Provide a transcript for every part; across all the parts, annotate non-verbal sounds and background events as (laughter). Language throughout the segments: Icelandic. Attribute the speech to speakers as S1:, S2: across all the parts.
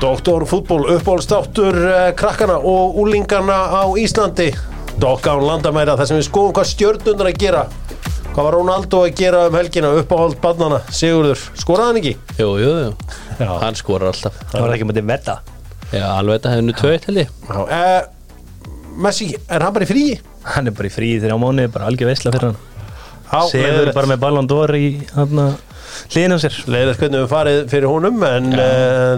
S1: Doktor fútból uppbólstáttur krakkana og úlingana á Íslandi Dokka án landamæra þar sem við skoðum hvað stjörnundar að gera Hvað var Ronaldo að gera um helgina uppáhald barnana, Sigurður, skoraði hann ekki?
S2: Jú, jú, jú, hann skorar alltaf
S3: Það var ekki mútið verða
S2: Já, alveg þetta hefði nú tvö eitt held ég
S1: Já, eh, Messi, er hann bara í fríi?
S3: Hann er bara í fríi þegar á mánuði, bara algjör veisla fyrir hann
S1: Já,
S3: Seður
S1: leiðilegt.
S3: bara með Ballon d'Or í hana, hliðin á sér
S1: leiðilegt hvernig við farið fyrir honum en uh,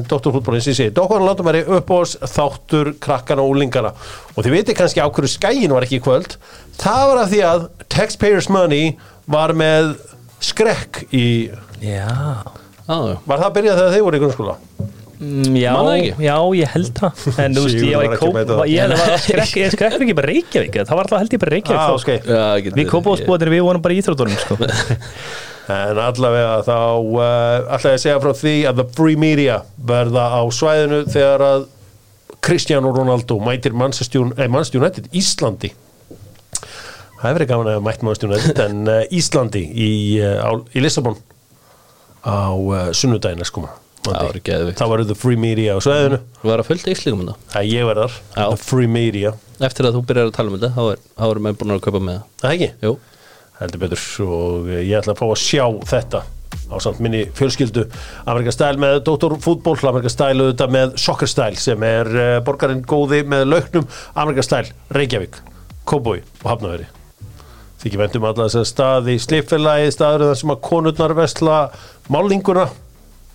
S1: Dr. Fútbólins í sig Dókvarn Landamæri upp á oss þáttur krakkana og úlingana og þið veitir kannski á hverju skæin var ekki í kvöld það var af því að Taxpayers Money var með skrekk í
S3: Já,
S2: Já, já,
S1: var það að byrja þegar þeir voru í grunnskóla?
S3: Mm, já,
S2: Man það ekki?
S3: já, ég held (laughs) það En þú veist,
S1: Sigurður
S3: ég var
S1: var
S3: í
S1: ekki með
S3: Kóp
S1: þetta.
S3: Ég var skrek, ég skrekkur ekki bara Reykjavík Það var alltaf held ég bara Reykjavík sko.
S1: Ah,
S3: þá,
S1: okay.
S2: já getur
S3: Við
S2: verið.
S3: Kópavóðsbóðinir, við vorum bara í Íþróttunum (laughs) sko.
S1: En allavega þá uh, ætla ég að segja frá því að The Free Media verða á svæðinu þegar að Cristiano Ronaldo mætir Manchester Un- eh, Manchester United Íslandi Það hefur verið gaman að mætt Manchester United en uh, Íslandi í, uh, á, í Lissabon á uh, sunnudaginn sko
S2: Það verður geðveikt.
S1: Þá verður The Free Media á svæðinu
S2: Við varum að fylgta íslíkum þetta
S1: Það er ég verðar,
S2: Já.
S1: The Free Media
S2: Eftir að þú byrjar að tala um þetta, þá er- þá eru menn búin að kaupa með það
S1: Það ekki?
S2: Jú,
S1: heldur betur og eh, ég ætla að fá að sjá þetta á samt minni fjölskyldu Amerika Stæl með Dr. Fútból Amerika Stæl auðvitað með Soccer Stæl sem er uh, borgarinn góði með lauknum Amerika Stæl, Reykjavík, Kóboi og Hafnaveri þykir vendum alla þess að staði slipfélagi staður þar sem að konurnar vesla málninguna,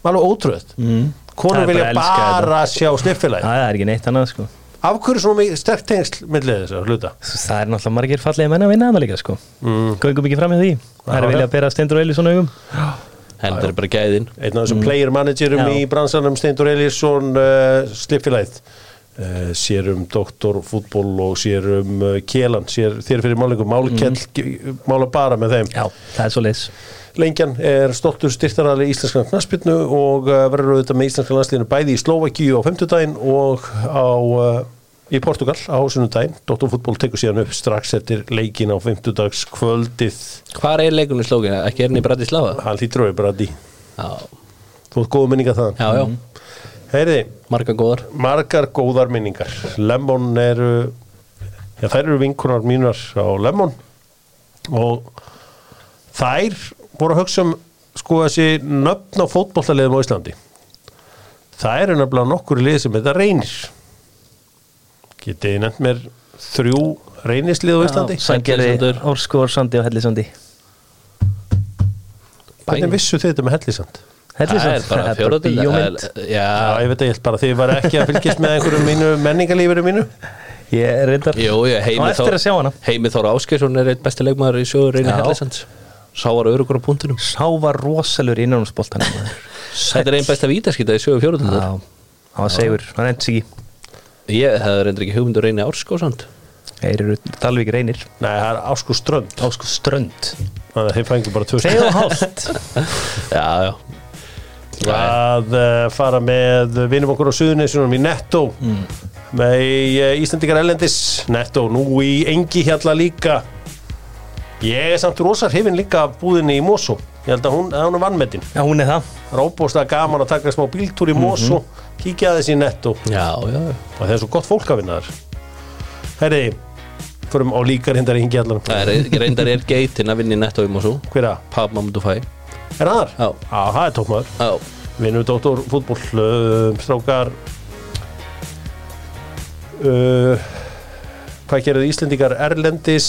S1: alveg ótröð mm. konur
S3: Það er
S1: vilja
S3: bara að elska
S1: bara sjá slipfélagi
S3: Það er ekki neitt annað sko.
S1: af hverju svona mikið sterkt tengsl millið þessar hluta
S3: Þú veist, Það er náttúrulega margir fallega menna að vinna hana líka sko. mm. Göngum ekki fram með því Það er
S1: Já,
S3: að
S1: já.
S3: vilja að bera stendur og eilu svona augum
S2: hendur er bara gæðin
S1: einn af þessum player managerum
S3: Já.
S1: í bransanum Steindur Elísson uh, slipfilæð uh, sér um doktor fútból og sér um uh, kélan, sér þér fyrir málingum málkell, mm. mála bara með þeim
S3: Já, það er svo leis
S1: Lengjan er stoltur styrtarali íslenskan knassbyrnu og uh, verður auðvitað með íslenskan landsliðinu bæði í Slovakíu á 50 daginn og á, uh, í Portugal á sunnudaginn. Dr. Fútból tekur síðan upp strax eftir leikin á 50 dags kvöldið.
S2: Hvar er leikunni slókina? Ekki er henni í Bratislava?
S1: Hann hlýtur auðvitað bara að því.
S2: Já,
S1: Þú ert góð minninga það.
S2: já, já,
S1: Heyriði,
S2: marga góðar
S1: margar góðar minningar Lemon eru já, þær eru vinkunar mínar á Lemon og þær voru að hugsa um sko þessi nöfn á fótbollaliðum á Íslandi það eru nefnilega nokkur lið sem þetta reynir getið þið nefnt mér þrjú reynislið á Íslandi
S3: Sangerði,
S2: Hellisandur.
S3: Orskor, Sandi og Hellisandi
S1: hvernig vissu þið þetta með hellisand?
S2: Það er
S3: Hellisand,
S2: bara fjóratil
S3: bíómynd
S1: Já,
S2: Já,
S1: ég veit að ég held bara að þið var ekki að fylgjast með einhverju mínu menningalífinu mínu
S3: Ég er reyndar
S2: jú, já,
S3: Á
S2: Heimi
S3: eftir að sjá hana.
S2: Heimi Þór Áskeiðsson er einn besti leikmaður í sjóður reyni
S3: Já.
S2: Hellisands Sá var örugur á punktinum
S3: Sá var rosalur innanumsboltanum
S2: Þetta er einn besta vítaskita í sjóðu fjórundundar
S3: Já, hann var segur, hann endur sig í
S2: Ég hefði reyndir ekki hugmyndu reyni árskóðsand
S3: Þeir eru Dalvík reynir
S1: Nei, það er Ásku Strönd
S3: Ásku strönd
S1: þannig að þið fængu bara tvö stig. (laughs)
S3: Þegar hálft
S2: Já, já Já,
S1: að uh, fara með vinum okkur á suðunisjónum í Netto með uh, Íslandingar Erlendis Netto nú í Engi hjalla líka ég er samt rosa hrifin líka af búðinni í Mosó ég held að hún, að hún er vannmettin
S3: Já, hún er það
S1: róbósta gaman að taka smá bíltúr í Mosó kíkja aðeins í Netto
S2: já, já
S1: og það er svo gott fólk að vinna þar herri, förum á líkar hindar í Engi hjallanum
S2: Það er reyndar er geitin að vinna í netto um og svo
S1: hver að,
S2: Pab, mamma, þú fæ
S1: er það þar?
S2: Já.
S1: Já, það er tókmaður
S2: Já,
S1: Vinnum Dóttor fútból uh, Strákar uh, Hvað gerðu Íslendingar Erlendis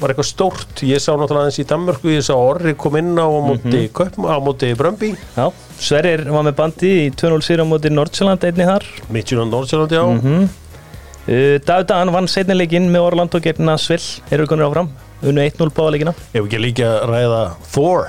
S1: Var eitthvað stórt Ég sá náttúrulega aðeins í Danmörku Ég sá Orri kom inn á á móti, mm á móti Brömbi
S3: Já, Sverrir var með bandi í 2-0 síra móti Nordsjöland einni þar
S1: Midtjúland Nordsjálandi á
S3: uh, Davda, hann vann seinni leikinn með Orland og gerna Svill Eru konur áfram, unnu 1-0 báða leikina
S1: Ef ekki líka að ræða Thor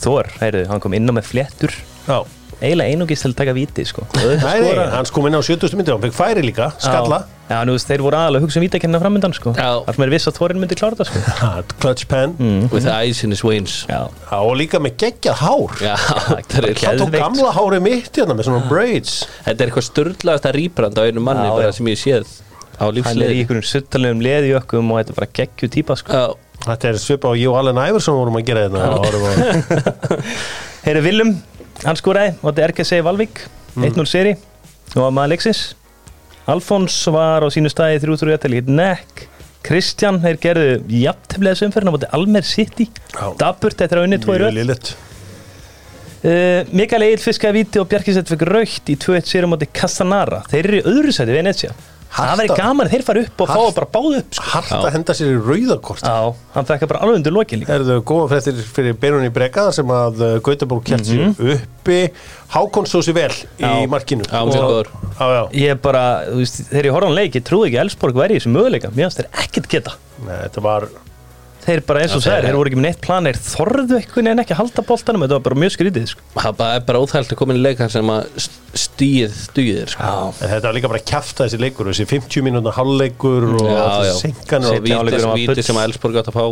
S3: Þor, heyrðu, hann kom inn á með fléttur
S1: Já
S3: Eiginlega einungist til að taka víti, sko
S1: Nei, nei, hans kom inn á 70. myndi Hann fekk færi líka, skalla
S3: Já, já nú, veist, þeir voru aðalega að hugsa um vítakennina framöndan, sko
S2: Já.
S3: Allt mér viss að Þorin myndi klára þetta, sko
S1: ha, Clutch pen
S2: with the ice in his veins
S3: Já,
S1: Mm. Já, Og líka með geggjað hár
S3: (laughs)
S2: Já, þetta er
S1: Hann tók
S3: Geðveikt.
S1: gamla hárið mitt hérna með svona braids
S2: Þetta er eitthvað störðlegast að rýbranda á einu manni
S3: Já,
S2: bara
S3: já.
S2: sem ég séð á
S3: hann er í
S2: lífsleði
S3: einhverjum suttalegum leðjökum og þetta er bara geggju típa, sko
S2: Já,
S1: Þetta er svipa á ég og Allen Iverson vorum að gera hérna þetta og vorum að Mm.
S3: Heyri Willum, hann skoraði og þetta er RKC Valvík 1-0 seri og að maður leiksins Alfons var á sínu staði 3-3 jættali Neck Kristján, þeir gerðu jafnteflega þessu umferðin á bóti Almer City
S1: Já.
S3: Daburt eftir að unni tvo í
S1: Mjög
S3: röð
S1: liðlegt
S3: uh, Mikael Egil fiskaði víti og Bjarkisett fekk raukt í 2-1 sérum á bóti Castanara Þeir eru í öðru sæti Venetia Það
S1: Harta-
S3: væri gaman, að þeir fara upp og
S1: Hart-
S3: fá bara báðu upp sko.
S1: Hart að henda sér í rauðakort
S3: Já, hann fekk bara alveg undir lokin líka
S1: Er þau góða fréttir fyrir Benunni Brega þar sem að uh, Gautaborg kert sér uppi Hákon svo sér vel í
S3: Já.
S1: markinu
S2: Já, hún sér
S1: Og-
S2: góður.
S1: Já, já,
S3: Ég bara, þú veist, þegar ég horfði á hann leik, ég trúði ekki að Elsborg væri í þessum möguleika, mér finnst þeir ekkert geta
S1: Nei, þetta var
S3: Þeir bara eins og
S2: Já, þeir-
S3: sæðir, þeir voru ekki með neitt plan, þeir þorðu einhvern veginn ekki að halda boltanum, þetta var bara mjög skrítið, sko.
S2: Það bara- er bara óþægt að koma inn í leikar sem að stíð stugir sko.
S1: en Þetta var líka bara að kjafta þessi leikur þessi 50 mínúna hálfleikur og þessi seinkanir
S2: Þessi
S1: og-
S3: Seinkanir og um
S2: víti,
S3: leikurinn var
S2: víti
S3: bull.
S2: sem að Elsborg átt að fá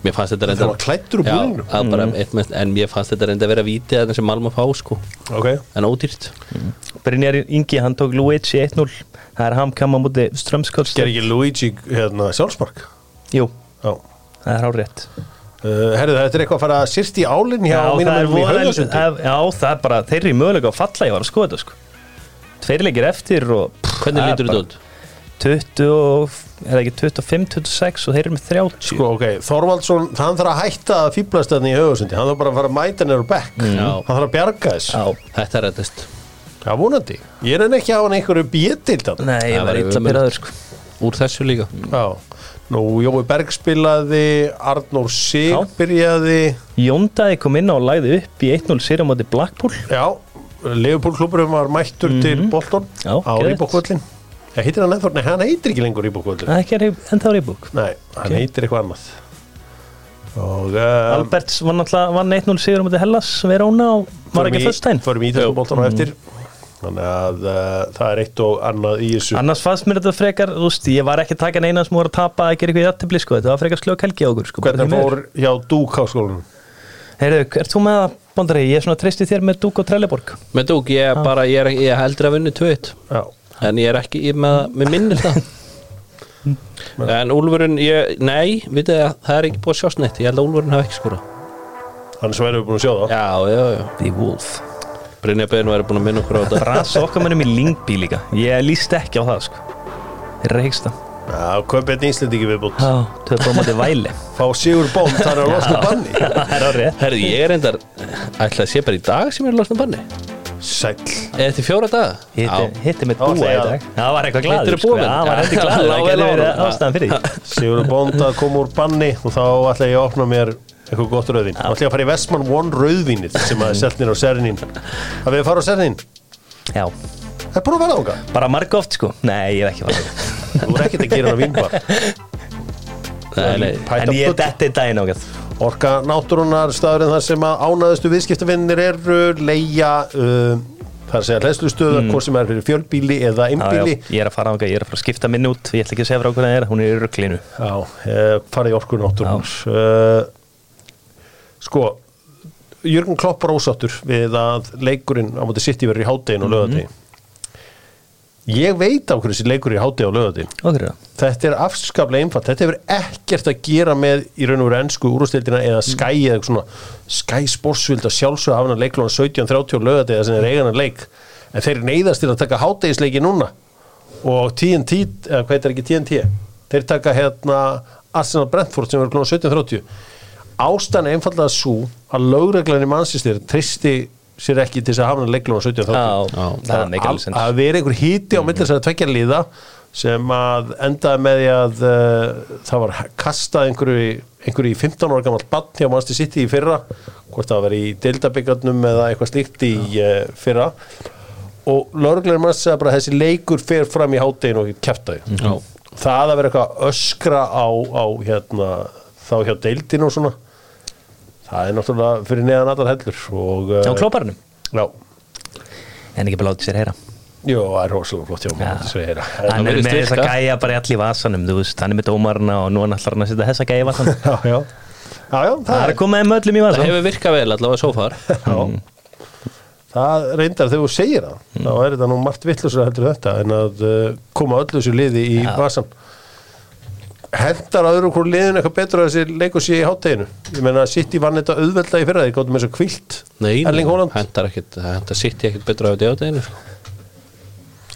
S2: Mér fannst þetta
S1: Það var klæddur úr
S2: Já,
S1: búningum.
S2: það var bara
S3: Mm.
S2: eitt mest- En mér fannst þetta reynda að vera víti að þessi Malma fá sko
S1: Ok,
S2: En ódýrt
S3: Brynjar Ingi, hann tók Luigi 1-0, það er hamkama múti Strömskóls.
S1: ger ekki Luigi hérna, sjálfsmark
S3: Jú,
S1: Já
S3: það er hárétt.
S1: Uh, herðu, þetta er eitthvað að fara að sýrt í álinn hjá mínum
S3: það er
S1: erum í
S3: voðal-
S1: höfðusundi
S3: það- Já, það er bara, þeir eru í möguleika að falla, ég var að skoða þetta, sko. Tveir leikir eftir og... pff,
S2: Hvernig
S3: það er
S2: lítur þetta
S3: bara
S2: út?
S3: 20, og- er það ekki 25, 26 og þeir eru með 30.
S1: Sko, ok, Þorvaldsson, hann þarf að hætta að fýblast þannig í höfðusundi, hann þarf bara að fara að mæta nefnir á bekk,
S2: Já.
S1: hann þarf að bjarga þess
S3: Já.
S2: Þetta er rettist
S1: Já, vonandi. Ég er enn ekki á hann einhverju bjettildan.
S3: Nei, ég
S2: Það
S3: var
S2: væri
S3: illa
S2: ömurlegt.
S3: byrjaður, sko.
S2: Úr þessu líka
S1: Já. Nú, Jói Berg spilaði, Arnór Sig
S3: Já.
S1: byrjaði,
S3: Jóndaði kom inn á og lagði upp í 1-0 sérum á móti Blackpool.
S1: já, Leifupúl klubburum var mættur til Bolton
S3: Mhm. Já,
S1: á
S3: geðveikt.
S1: Rýbókvöllin. Ég heitir hann ennþá, nei, hann heitir ekki lengur Rýbókvöllin.
S3: Það er ekki ennþá reyðbúk.
S1: Nei, hann
S3: Ok.
S1: heitir eitthvað annað. Og... Um,
S3: Alberts var náttúrulega vann 1-0 sigur á móti Hellas Verona og var ekki Mm. fyrst einn
S1: Förum í þessum Bolton á eftir. Þannig að uh, það er eitt og annað í þessu.
S3: annars fannst mér þetta frekar þú veist, ég var ekki að taka neina sem voru að tapa að gera eitthvað í aðtefli sko, þetta var frekar slög helgi á okkur sko, bara
S1: Hvernig
S3: því miður.
S1: fór hjá Dúkáskólanum?
S3: Heyrðu, ert þú með það, Bondari, ég er svona treysti þér með Dúk og Trelleborg
S2: Með dúk, ég, er bara, ég, er, ég heldur að vinni 2-1
S1: Já.
S2: En ég er ekki ég með, með minnir
S1: (laughs)
S2: það En Úlfurinn, ég, nei, vitið þið að það er ekki búið að sjást neitt Ég held að Úlfurinn hafi ekki skora
S1: Þannig svo erum við búin að sjá það.
S2: Já, já, já
S3: The Wolf
S2: Brynja Beinu er búin að minna okkur á
S1: (laughs)
S2: þetta
S3: Brasa okkar mönnum í Lingby líka ég líst ekki á það sko Reyksta
S1: Já, kaup einn Íslandingi viðbútt
S3: Já, þau er bara á móti (laughs) væli
S1: Fá Sigur Bónd, það
S3: (laughs)
S1: er að losna banni
S3: Það er á rétt
S2: Herði, ég er endar Ætla að sé bara í dag sem ég er losna banni
S1: Sæll
S2: Eða Eftir fjóra daga
S3: Hitti, hitti með
S1: Það var
S3: dúa í
S1: þegar-
S3: dag Það var eitthvað
S2: Hittirðu
S3: glaður sko,
S2: búa með?
S3: það var
S2: Já.
S3: eitthvað glaður
S2: Lá
S3: Það
S2: vel
S3: getur
S2: á
S3: verið
S2: honum.
S3: ástæðan fyrir (laughs) því
S1: Sigur Bónd að koma úr banni og þá ætla ég að opna mér eitthvað gott rauðvín Þá ætla ég að fara í Vestmann One rauðvínið sem að er selt nýr á Sernin Það við að fara á Sernin
S3: Já,
S1: Það er búin að fara ánga
S3: bara margóft sko Nei, ég er ekki farið
S1: Þú er ekkert að gera hann að vínbar
S2: Nei, nei
S1: Pæta
S3: En ég
S1: bull.
S3: er detti í daginn ágætt
S1: Orka náttúrunar staðurinn þar sem að ánaðustu viðskiptafinnir eru leia uh, þar segja hlæslu stöðar hvort sem er fyrir fjölbíli eða
S3: Mm. Já, já,
S1: einbíli
S3: Ég er að fara ágætt, ég er að fara að skipta minni út Ég ætla ekki að segja frá hvernig það er, hún er í rugglinu
S1: Já, eh, farið í orku náttúrunar uh, Sko Jörgum Klopp var ósáttur við að leikurinn á móti sitt verið í hádegin
S3: Mhm.
S1: og lögadegin Ég veit af hverju þessi leikur er í hádegin og lögadegin
S3: Okkur það
S1: Þetta er afskaplega einfalt Þetta hefur ekkert að gera með í raun og veru ennsku úrústildina eða Sky eða eitthvað svona Sky Sportsvild að sjálfsögðu hafa hana leiklóna 17-30 og lögadegin sem er eiganan leik en þeir neyðast til að taka hádegisleiki núna og TNT eða hvað heitir ekki TNT þeir taka hérna Arsenal Brentford sem verður klóna 17.30 ástan er einfallega svo að lögreglan í mannsýstir tristi sér ekki til þess að hafa hann leiklum á 17.30
S3: Já, já, það er Mm. mikið alveg
S1: að,
S3: sens.
S1: að vera einhver híti á millis að tvekja liða sem að endaði með því að uh, það var kastað einhverju, í- einhverju í 15 ára gamalt bann hjá Manchester City í fyrra hvort það var í deildabyggarnum eða eitthvað slíkt í uh, fyrra og lögreglan mann segja bara að þessi leikur fer fram í háttegin og kæftagi
S3: Mhm.
S2: Já.
S1: það að vera eitthvað að öskra á, á hérna, þá hjá deildin og svona það er náttúrulega fyrir neðan allar hellur og
S3: Hjá
S1: eh,
S3: klóparnum
S1: já,
S3: En ekki bara látið sér heyra
S1: Jó, það er rosalega flott hjá mér segir það.
S3: Hann er
S2: virðist
S3: með þess að
S2: virka.
S3: gæja bara í allir vasanum Þú veist, hann er með dómarna og nú hann allar hann að setja þessa gæja í vasan
S1: já, já, já, já
S3: (laughs) Það er
S1: það,
S3: að koma þeim öllum í
S2: Það
S3: vasan
S2: hefur virkað vel allavega svo
S1: (laughs)
S2: far
S1: já. það reyndar þegar þú segir það
S3: Mm.
S1: þá er þetta nú margt vittlusur heldur en þetta en að uh, koma öllu þessu liði í vasan hendar að öðru hvort liðinu eitthvað betur að þessi leikur sé í hátteginu ég meina City vann þetta auðvelda í fyrra þeir gáttum eins og kvilt
S2: Nei,
S1: Erling Haaland
S2: hentar ekkit, hentar sitt ekkit betur á þetta á deginu sko.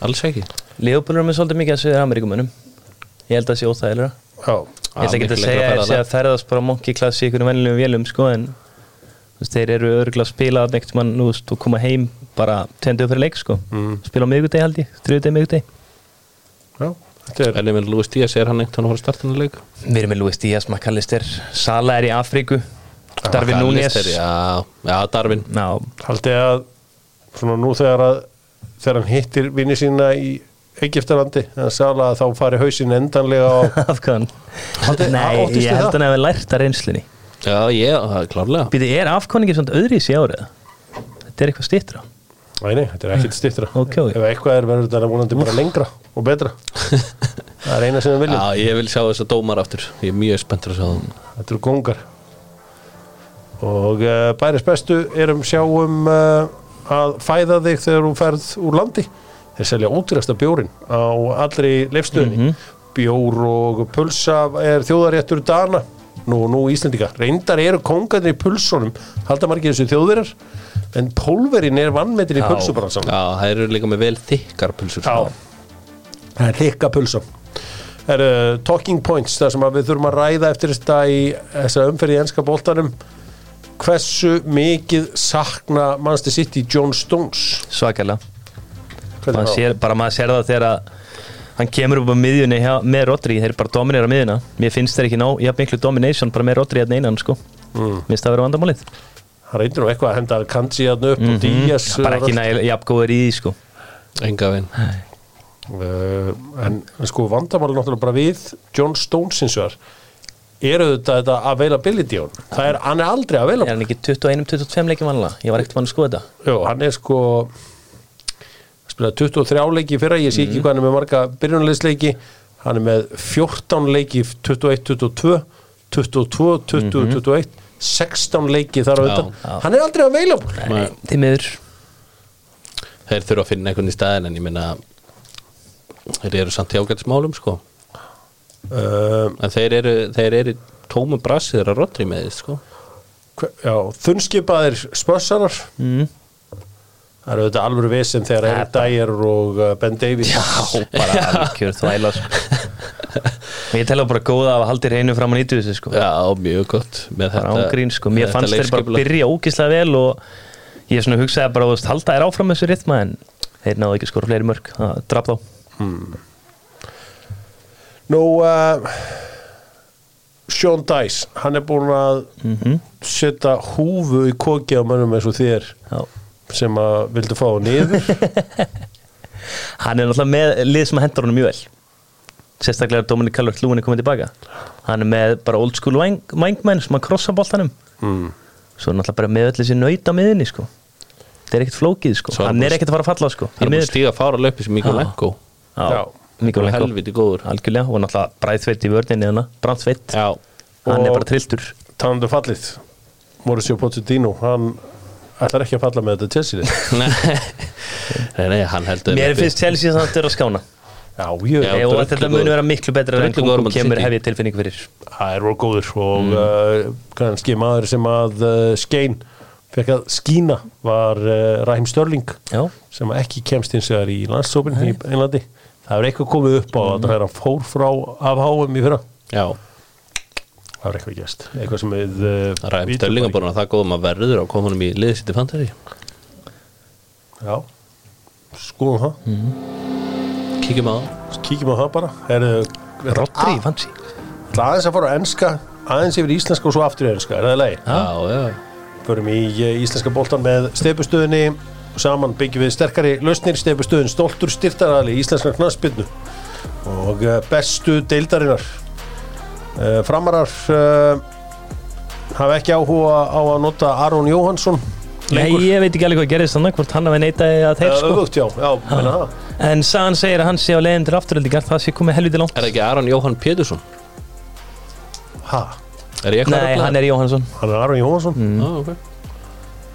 S2: alls ekki
S3: Leopold er með svolítið mikið að segja Ameríkumunum Ég held að það sé óþægilega
S1: Já,
S3: Ég ætla ekki
S2: miklu
S3: að
S2: lengra
S3: segja
S2: ferðalag.
S3: þessi að ferðast bara á monkey class í einhverjum vennilegum vélum sko en þú veist, þeir eru örgulega að spila þarna einhvern mann veist, og koma heim bara tendu upp fyrir leik sko spila á miðgudegi held ég, þriðudegi miðgudegi
S1: já Þetta er
S2: En ég minn Lúi Stías er hann einhvern veginn að fara að starta hennar leik
S3: Við erum með Luis Díaz, McAllister, Sala er í Afríku Darvin Núnes
S2: Alistair, Já, já Darvin
S3: Ná, (laughs)
S1: haldið að svona nú þegar að þegar hann hittir vini sína í Egiptalandi en sála að þá fari hausin endanlega á
S3: af hvaðan
S1: Haldið-
S3: Nei,
S1: óttist þið
S3: ég held
S1: það?
S3: hann að við lært að reynslunni
S2: Já, ég, það er klárlega
S3: Býti, er afkoningin svona öðri í árið? Þetta er eitthvað stýttra
S1: Nei, nei, þetta er ekkit stýttra
S3: (laughs) Ok, ok.
S1: Ef eitthvað er verður þetta vonandi bara lengra og
S3: (laughs)
S1: betra Það er eina sem við viljum
S2: Já, ég vil sjá þess að dómar aftur Ég er mjög spenntur að sjá það
S1: Þetta eru kongar Og uh, bæris bestu erum sjáum uh, að fæða þig þegar þú ferð úr landi Þeir selja ótrýrasta bjórin á allri leifstöðinni
S3: Mhm.
S1: Bjór og pulsa er þjóðaréttur dana Nú, nú Íslendinga Reyndar eru kongarnir í pulsunum Halda margir þessu þjóðverjar En pólverin er vannmetin í
S3: Já.
S1: pulsubransan
S2: Já, það eru líka með vel þykkar pulsur sko.
S1: Já, það er þykka pulsa er, Talking points, það sem að við þurfum að ræða eftir þetta í þessa umferð í enska boltanum hversu mikið sakna mannstu sitt í John Stones
S3: Svakalega
S1: Hvernig
S3: maður
S1: var það?
S3: sér, bara maður sér það þegar að hann kemur upp á miðjunni hjá, með Rodri þeir bara dominera miðjuna, mér finnst þeir ekki ná jafn miklu domination bara með Rodri hérna einan sko mm. minnst það vera vandamálið
S1: hann reyndir nú eitthvað að henda Kansi hann upp og Díaz
S3: Já, Mhm, bara ekki nægilega jafn góður í því sko
S2: Enga veginn
S1: uh, en, en sko vandamáli náttúrulega bara við John Stones hins vegar eru þetta þetta availability á hann það er, hann er aldrei
S3: er
S1: available
S3: hann ekki 21-25 leikjum vanlega, ég var ekkert vann að skoða þetta
S1: Jó, hann er sko spilaði 23 leiki í fyrra, ég sé ekki
S2: Mhm.
S1: hvað hann er með marga byrjunleisleiki, hann er með 14 leiki í 21-22 22, 20, 21 16 leiki þar á
S2: Mhm. Já,
S1: þetta hann er aldrei að veila
S2: Nei.
S3: því miður,
S2: Þeir þurfa að finna einhvern í staðin En ég minna Þeir eru samt í ágætismálum sko
S1: uh,
S2: En þeir eru, þeir eru í tómum brassi Þeir eru að rotri með því sko
S1: hve- já, þunnskipaðir spössarar
S3: Mhm.
S1: það eru þetta alvöru vesinn þegar Eric Dyer og uh, Ben Davies já,
S3: bara algjör þvæla sko (laughs) Og ég tala bara góða af að haldi reynu fram á 90 þessu sko
S2: Já, mjög gott með
S3: bara
S2: þetta-
S3: ángrín sko, mér
S2: þetta
S3: fannst þeir bara
S2: leikskipulag.
S3: byrja ógislega vel og ég svona hugsaði bara, þú veist, halda þeir áfram þessu ritma en þeir náðu ekki skora fleiri mörg, það draf þá
S1: Nú, uh, Sean Dice, hann er búin að
S2: Mhm.
S1: setja húfu í koki á mönnum eins og þér
S3: Já.
S1: sem að vildu fá hann (laughs) niður.
S3: hann er náttúrulega með lið sem hendur honum mjög vel sérstaklega er Dominic Callert Lúin er komið tilbaka hann er með bara old school væng- vængmenn sem að krossa boltanum
S1: mm.
S3: svo er náttúrulega bara með öll þessi nöyt á miðinni sko. það er ekkert flókið sko.
S2: Svo er hann
S3: hann
S2: búinn-
S3: er ekkert að fara að falla sko.
S2: Þeir eru búin að stíga fára löpi sem Mikko
S3: Já.
S2: Lenko
S1: Já.
S3: mikið lengur
S2: Helviti góður
S3: algjörlega og náttúrulega bræðveitt í vörninni hann bræðveitt,
S2: Já,
S3: hann
S1: Og-
S3: er bara trilltur
S1: Talandu um fallið, Mauricio Pochettino, hann ætlar ekki að falla með þetta Chelsea. lið.
S2: nei,
S3: (laughs)
S2: nei, nei, hann heldur
S3: mér finnst Chelsea samt vera að skána
S1: (laughs) Já, ég,
S2: Já.
S3: Nei, og
S2: drullu
S3: þetta
S2: góður.
S3: muni vera miklu betra en
S2: Drullu góður
S3: Kungu
S2: móti
S3: kemur
S2: City.
S3: hef ég tilfinning fyrir
S1: það er voru góður og uh, kannski maður sem að uh, skein fekk að skína var uh, Raheem Störling
S3: já,
S1: sem ekki kemst eins og það er í landsópin í Englandi. Það er eitthvað komið upp á mm. þetta þegar hann fór frá af háum í fyrra.
S2: Já,
S1: Það er eitthvað gæst. Eitthvað sem við... Uh,
S2: Ræm
S1: vitum
S2: Störlinga
S1: bara
S2: búin að það góðum að verður að koma honum í liðið sitt í fantari
S1: ekki. Já. Skoðum það.
S2: Kíkjum á það
S1: Kíkjum á það bara. Er, Ah,
S2: Ah.
S3: Rodri, fanns ég
S1: Það aðeins að fara á enska, aðeins yfir í íslenska og svo aftur í enska. Er það leið?
S2: Já, já,
S1: Förum í eh, íslenska boltan með stefustöðinni og saman byggjum við sterkari lausnir stefustöðin stoltur styrtarali í íslenska knassbyrnu og eh, bestu deildarinnar. Eh, Framarar eh, hafa ekki áhuga á að nota Aron Jóhansson
S3: Nei, ég veit ekki alveg hvað gerist þannig, hvort hann hafi neitaði að þeir
S1: Eða
S3: sko.
S1: Eh, öfugt, já, já, menna það
S3: En Sagan segir að hann sé á leiðin til afturöldingar, það sé komið helviti langt.
S2: Er það ekki Aron Jóhann Pétursson?
S1: Ha,
S2: Er ég
S3: Nei, hann er Jóhannsson.
S1: hann er Aron Jóhansson
S2: mm. ah, okay.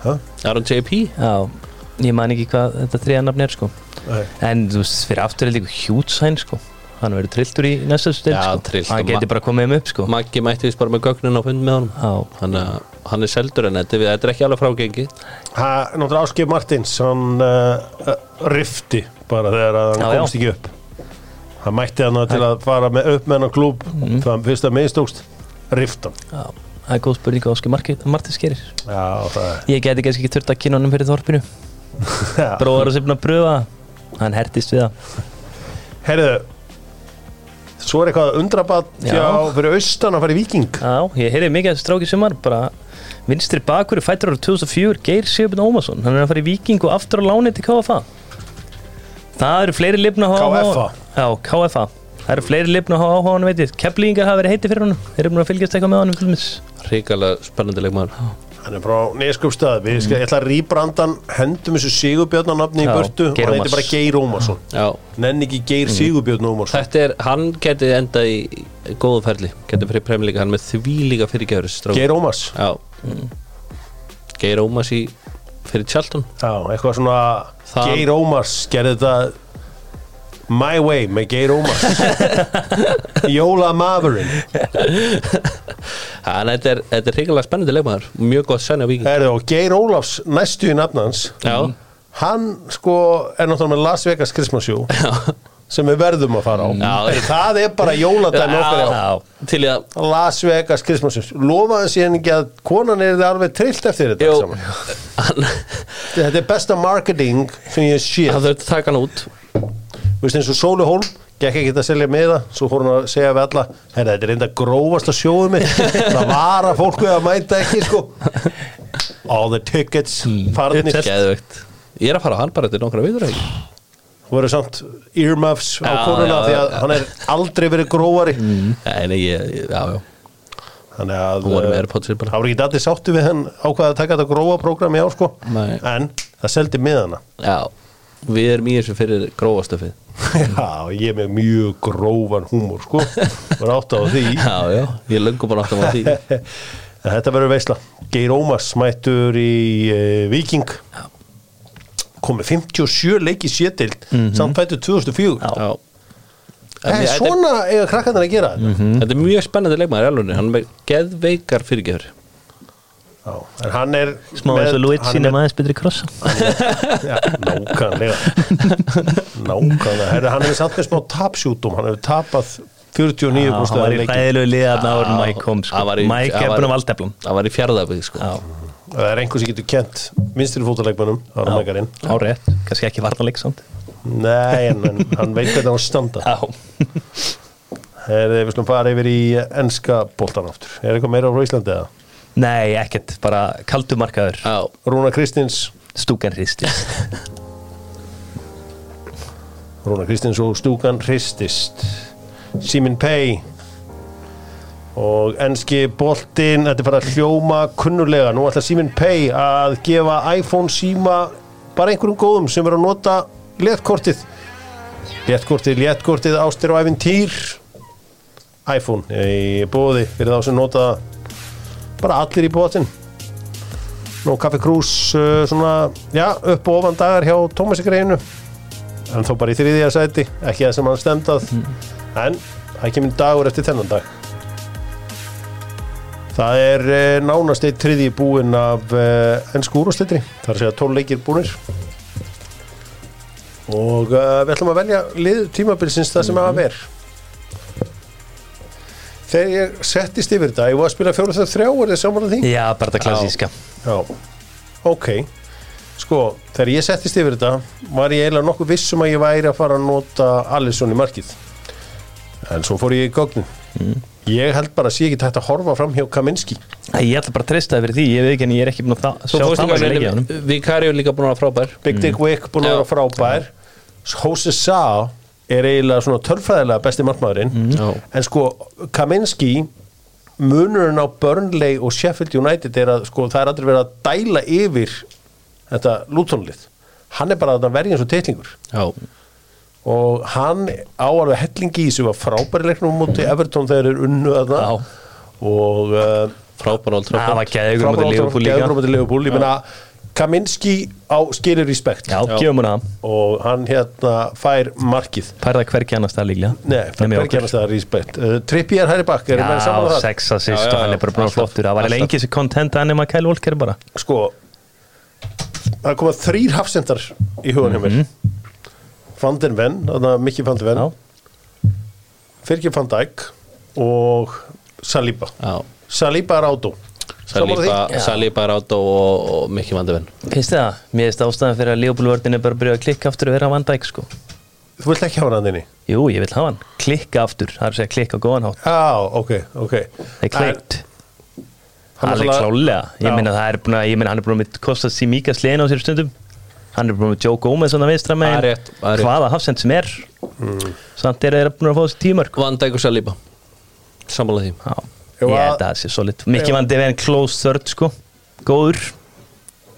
S1: Ha?
S2: Aron JP?
S3: Já, ég man ekki hvað þetta þriðanafn er sko.
S1: Nei,
S3: En þú veist, fyrir afturöldingu hjútsæn sko. hann verður trilltur í næsta stil
S2: Já,
S3: sko.
S2: trylltur.
S3: hann
S2: Ma-
S3: geti bara komið um upp sko.
S2: Maggi mætti vist bara með gögnin á fund með honum
S3: Já.
S2: Þannig að hann er seldur en þetta, þetta er ekki alveg frágengi
S1: Ha, náttúrulega Áskei Martins hann uh, rifti bara þegar að hann
S3: Já, já.
S1: komst ekki upp hann mætti hann til að fara með upp með hann klúb
S3: Mhm.
S1: mm. þann fyrst að meðstókst riftan
S3: Já, það er góð spurning á Óskar Marki- Martins gerir
S1: já, það (laughs) er
S3: ég geti kannski ekki þurft að kynna honum fyrir þorpinu
S1: já.
S3: bróðar að sefna að pröfa það. hann hertist við það
S1: herðu svo er eitthvað undrabatt
S3: Já.
S1: já. fyrir austan að fara í viking
S3: já, ég heyrði mikið að þessi stráki sumar bara vinstri bakur fættur ára 2004 Geir Sigurbjörn Ómarsson hann er að fara í Viking og aftur á láni til KFA það eru fleiri lifna
S1: KFA.
S3: já, KFA það eru fleiri lifna á áhugan veit ég keflingar hafa verið heiti fyrir hann þeir eru búin að fylgjast eitthvað með honum til dæmis.
S2: Ríkalega spennandi leikmaður
S1: hann er frá neskupstað við skal, ég ætla að rýbrandan hendum þessu Sigurbjörnarnafni í
S3: Já,
S1: burtu og
S3: Geir
S1: hann heitir
S3: Ómars. Mhm.
S1: bara Geir Ómarsson
S2: Já,
S1: nenn ekki Geir Sigurbjörn Ómarsson
S2: þetta er, hann geti endað í góðu ferli Geti fyrir premlíka, hann er með því líka fyrirgefur
S1: Geir Ómars
S2: Já Mm. Geir Ómas í fyrir Tjaldan
S1: Já, eitthvað svona
S2: Það-
S1: Geir Ómars gerði þetta My Way með Geir Ómars
S2: (laughs)
S1: Jóla maðurinn
S2: Þannig að þetta er, þetta er hrikalega spennandi leikmaður Mjög gott sænja viking
S1: Erðu og Geir Ólafs næstu í nafnans
S2: Já,
S1: Hann sko er náttúrulega með Las Vegas Christmas Show sem við verðum að fara á
S2: Mm. Já.
S1: Heyrðu, Það er bara jóladæmi okkar já.
S2: já Til í að
S1: Las Vegas Christmas Show Lofaði síðan ekki að konan er það alveg trillt eftir þetta allt
S2: Jú,
S1: saman.
S2: hann,
S1: Þetta er besta marketing sem ég sé
S2: hann þurfti að taka hann út
S1: Þú veist eins og Sólu Hólm gekk ekki að selja með það, svo fór hún að segja við alla herra, þetta er enda grófast að sjóðu
S2: (laughs)
S1: mig það var að fólk við að mæta ekki sko all the tickets
S2: Mm.
S1: farnir,
S2: Geðvegt Ég er að fara á hann bara til nokkra viður ekki
S1: voru samt earmuffs á
S2: Já,
S1: konuna
S2: já,
S1: því að
S2: já. Mm.
S1: hann er aldrei verið grófari
S2: Nei, nei, ég, ég- já, já
S1: þannig að
S2: Hún var með
S1: eh,
S2: Airpods sér
S1: það
S2: bara
S1: voru ekki allir sáttu við hann ákvaði að taka þetta grófa prógram í ár sko
S2: Nei.
S1: en það seldi með hana
S2: Já, við erum í þessu fyrir grófastöfið
S1: (laughs) já, ég er með mjög grófan húmor
S2: (laughs)
S1: sko, var átt á því
S2: Já, já, ég löngum bara áttum á því
S1: (laughs) En Þetta verður veisla. Geir Ómas mættur í uh, Viking. Komið 57 leik í sétild,
S3: Mhm.
S1: samt fættur 2004. Já.
S2: Já En
S1: En
S2: ég- þetta,
S1: svona eiga krakkarnar að gera þetta.
S3: Mhm.
S2: er, þetta er mjög spennandi leikmaður í alveg Hann er með geðveikar fyrirgefur
S1: Já, en hann er...
S3: smá
S1: með-
S3: eins og Luigi
S1: hann er
S3: nema
S1: með-
S3: aðeins betri krossa
S1: Já,
S3: (laughs)
S1: nákvæmlega. nákvæmlega. Herra, hann er samt með smá tapsjútum. Hann hefur tapað 49
S3: Já, hann var í
S1: leiki.
S3: ræðilegu liða þarna áður en Mike kom sko.
S2: Hann var í-
S3: Mike
S2: hann
S3: er
S2: var-
S3: búin að valdeflum
S2: Það var í fjárðafið, sko
S3: Já,
S1: Það er einhver sem getur kent minnstri fótaleikmannum. Það er mækarinn.
S3: árétt, kannski ekki varnarleik samt
S1: Nei, en, en hann veit hvernig hann á að standa.
S3: Já,
S1: Herði, við slum fara yfir í enska boltan aftur. Er eitthvað meira á Íslandi eða?
S3: nei, ekkert, bara kaldumarkaður
S2: Já,
S1: Rúna Kristins
S3: stúkan hristist
S1: Rúna Kristins og Stúkan Hristist Simin Pei og enski boltinn, þetta er bara að hljóma kunnulega, nú ætla Simin Pei að gefa iPhone síma bara einhverjum góðum sem eru að nota léttkortið léttkortið, léttkortið, ástir og æfintýr iPhone í bóði fyrir þá sem nota það. bara allir í bóðin nú Kaffi Krús uh, svona, já, upp og ofan dagar hjá Tómasi Greinu en þó bara í þriðja sæti ekki það sem hann stemdað en það kemur dagur eftir þennan dag það er eh, nánast eitt þriðji búinn af eh, ennsku úrúsleitri það er að segja 12 leikir búinir og uh, við ætlum að velja lið tímabilsins það sem að vera þegar ég settist yfir þetta ég var að spila fjóra þegar þrjá er þið saman að því
S3: (laughs) Já, bara það klassíska
S1: Já, ok Sko, þegar ég settist yfir þetta var ég eiginlega nokkuð vissum að ég væri að fara að nota Alisson í markið En svo fór ég í gögnin
S2: Mm.
S1: Ég held bara að sé ekki tætt að horfa fram hjá Kaminski
S3: Æ, Ég ætla bara að treysta það fyrir því, ég veit ekki en ég er ekki búin að þa- sjá
S2: svo fórstu
S3: það
S2: ekki
S3: leikja á honum
S2: að Vikari er líka búin að vera frábær
S1: Big Dick Wick búin að vera
S2: Mm. Já.
S1: frábær Jose Sa er eiginlega svona törfræðilega besti markmaðurinn
S2: Mm. Já.
S1: En sko, Kaminski munurinn á Burnley og Sheffield United er að sko, það er aldrei verið að dæla yfir þetta lútonlið hann er bara að verja eins og teitlingur
S2: Já,
S1: og hann á alveg hellingi í þessu var frábæri leiknum á móti Everton þegar er unnu að
S2: Já.
S1: það og uh,
S2: frábær Old
S3: Það
S2: Trafford
S3: var geðugur mútið Liverpool líka
S1: geðgrómandi Liverpool ég meina Kaminski á skilur í spekt
S3: Já, gefum hún það
S1: og hann hérna fær markið
S3: Pærða hverki annars það líklega
S1: Nei, það
S3: Nema
S1: er
S3: hjá
S1: ekki
S3: okkur.
S1: annars það í spekt uh, Trippi er hæri bakk, erum við saman á
S3: Já,
S1: það?
S3: sex assist
S2: Já, já,
S3: og hann er bara búin
S2: alltaf.
S3: að flottur Það var eiginlega
S2: Alltaf.
S3: engin sem content að nema Kyle Walker bara
S1: Sko það koma þrýr hafsendar í hugan hjá mér mm -hmm. Van den Venn, þannig að Mikki Van den Venn
S3: Mhm. Já.
S1: Fyrkir Van Dijk og Saliba
S2: Já.
S1: Saliba er átó
S2: Saliba, Saliba Rátó og, og Mikki Vandevinn
S3: Finnst þið það? Mér finnst ástæðan fyrir að Leopoldvörðin er bara að byrja að klikka aftur og vera að vanda ekki sko
S1: Þú vilt ekki hafa hann að þinni?
S3: Jú, ég vil hafa hann Klikka aftur, það er að segja klikka á góðan hátt
S1: Já, ok, ok
S3: Það er kleikt
S1: Hann er
S3: Alveg
S1: svona-
S3: klálega
S1: Já.
S3: Ég meina það er búin að, ég meina hann er búin að kosta sér mika slegin á sér stundum Hann er búin að Joe Gomez svona vinstra
S2: Það er
S3: með
S2: rétt, það er rétt.
S3: hvaða hafsend sem er Samt er þeir búin að fá þessi tímar
S2: Vandæk og Saliba Sammála því
S3: Já,
S1: Jú,
S3: ég
S1: að-
S3: held að það sé solid Mikið vandi verið en close third sko Góður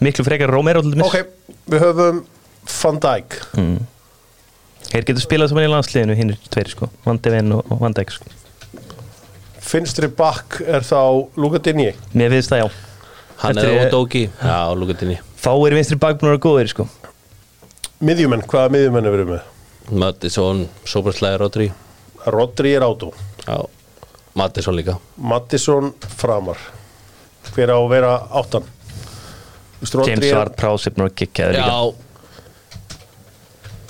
S3: Miklu frekar Romero til dæmis
S1: Ok, við höfum Van Dijk
S3: Þeir getur spilað saman í landsliðinu hinn er tveir sko Vandi verið og, og vandi ekki sko
S1: Finstri bakk er þá Luka Dinji
S3: Mér finnst það já
S2: Hann
S3: Þetta
S2: er
S3: er-
S2: ódóki Já, lúkatinni
S3: Fáir vinstri bakbúnar og góðir sko
S1: Miðjumenn, hvaða miðjumenn er verið með?
S2: Mattisson, Soberslæði Rodri
S1: Rodri er átó
S2: Já, Mattisson líka
S1: Mattisson framar Hver á að vera áttan? Þú veist, Rodri
S3: James
S1: er-
S3: Ward, Prásipnur og Kikkaður líka
S2: Já,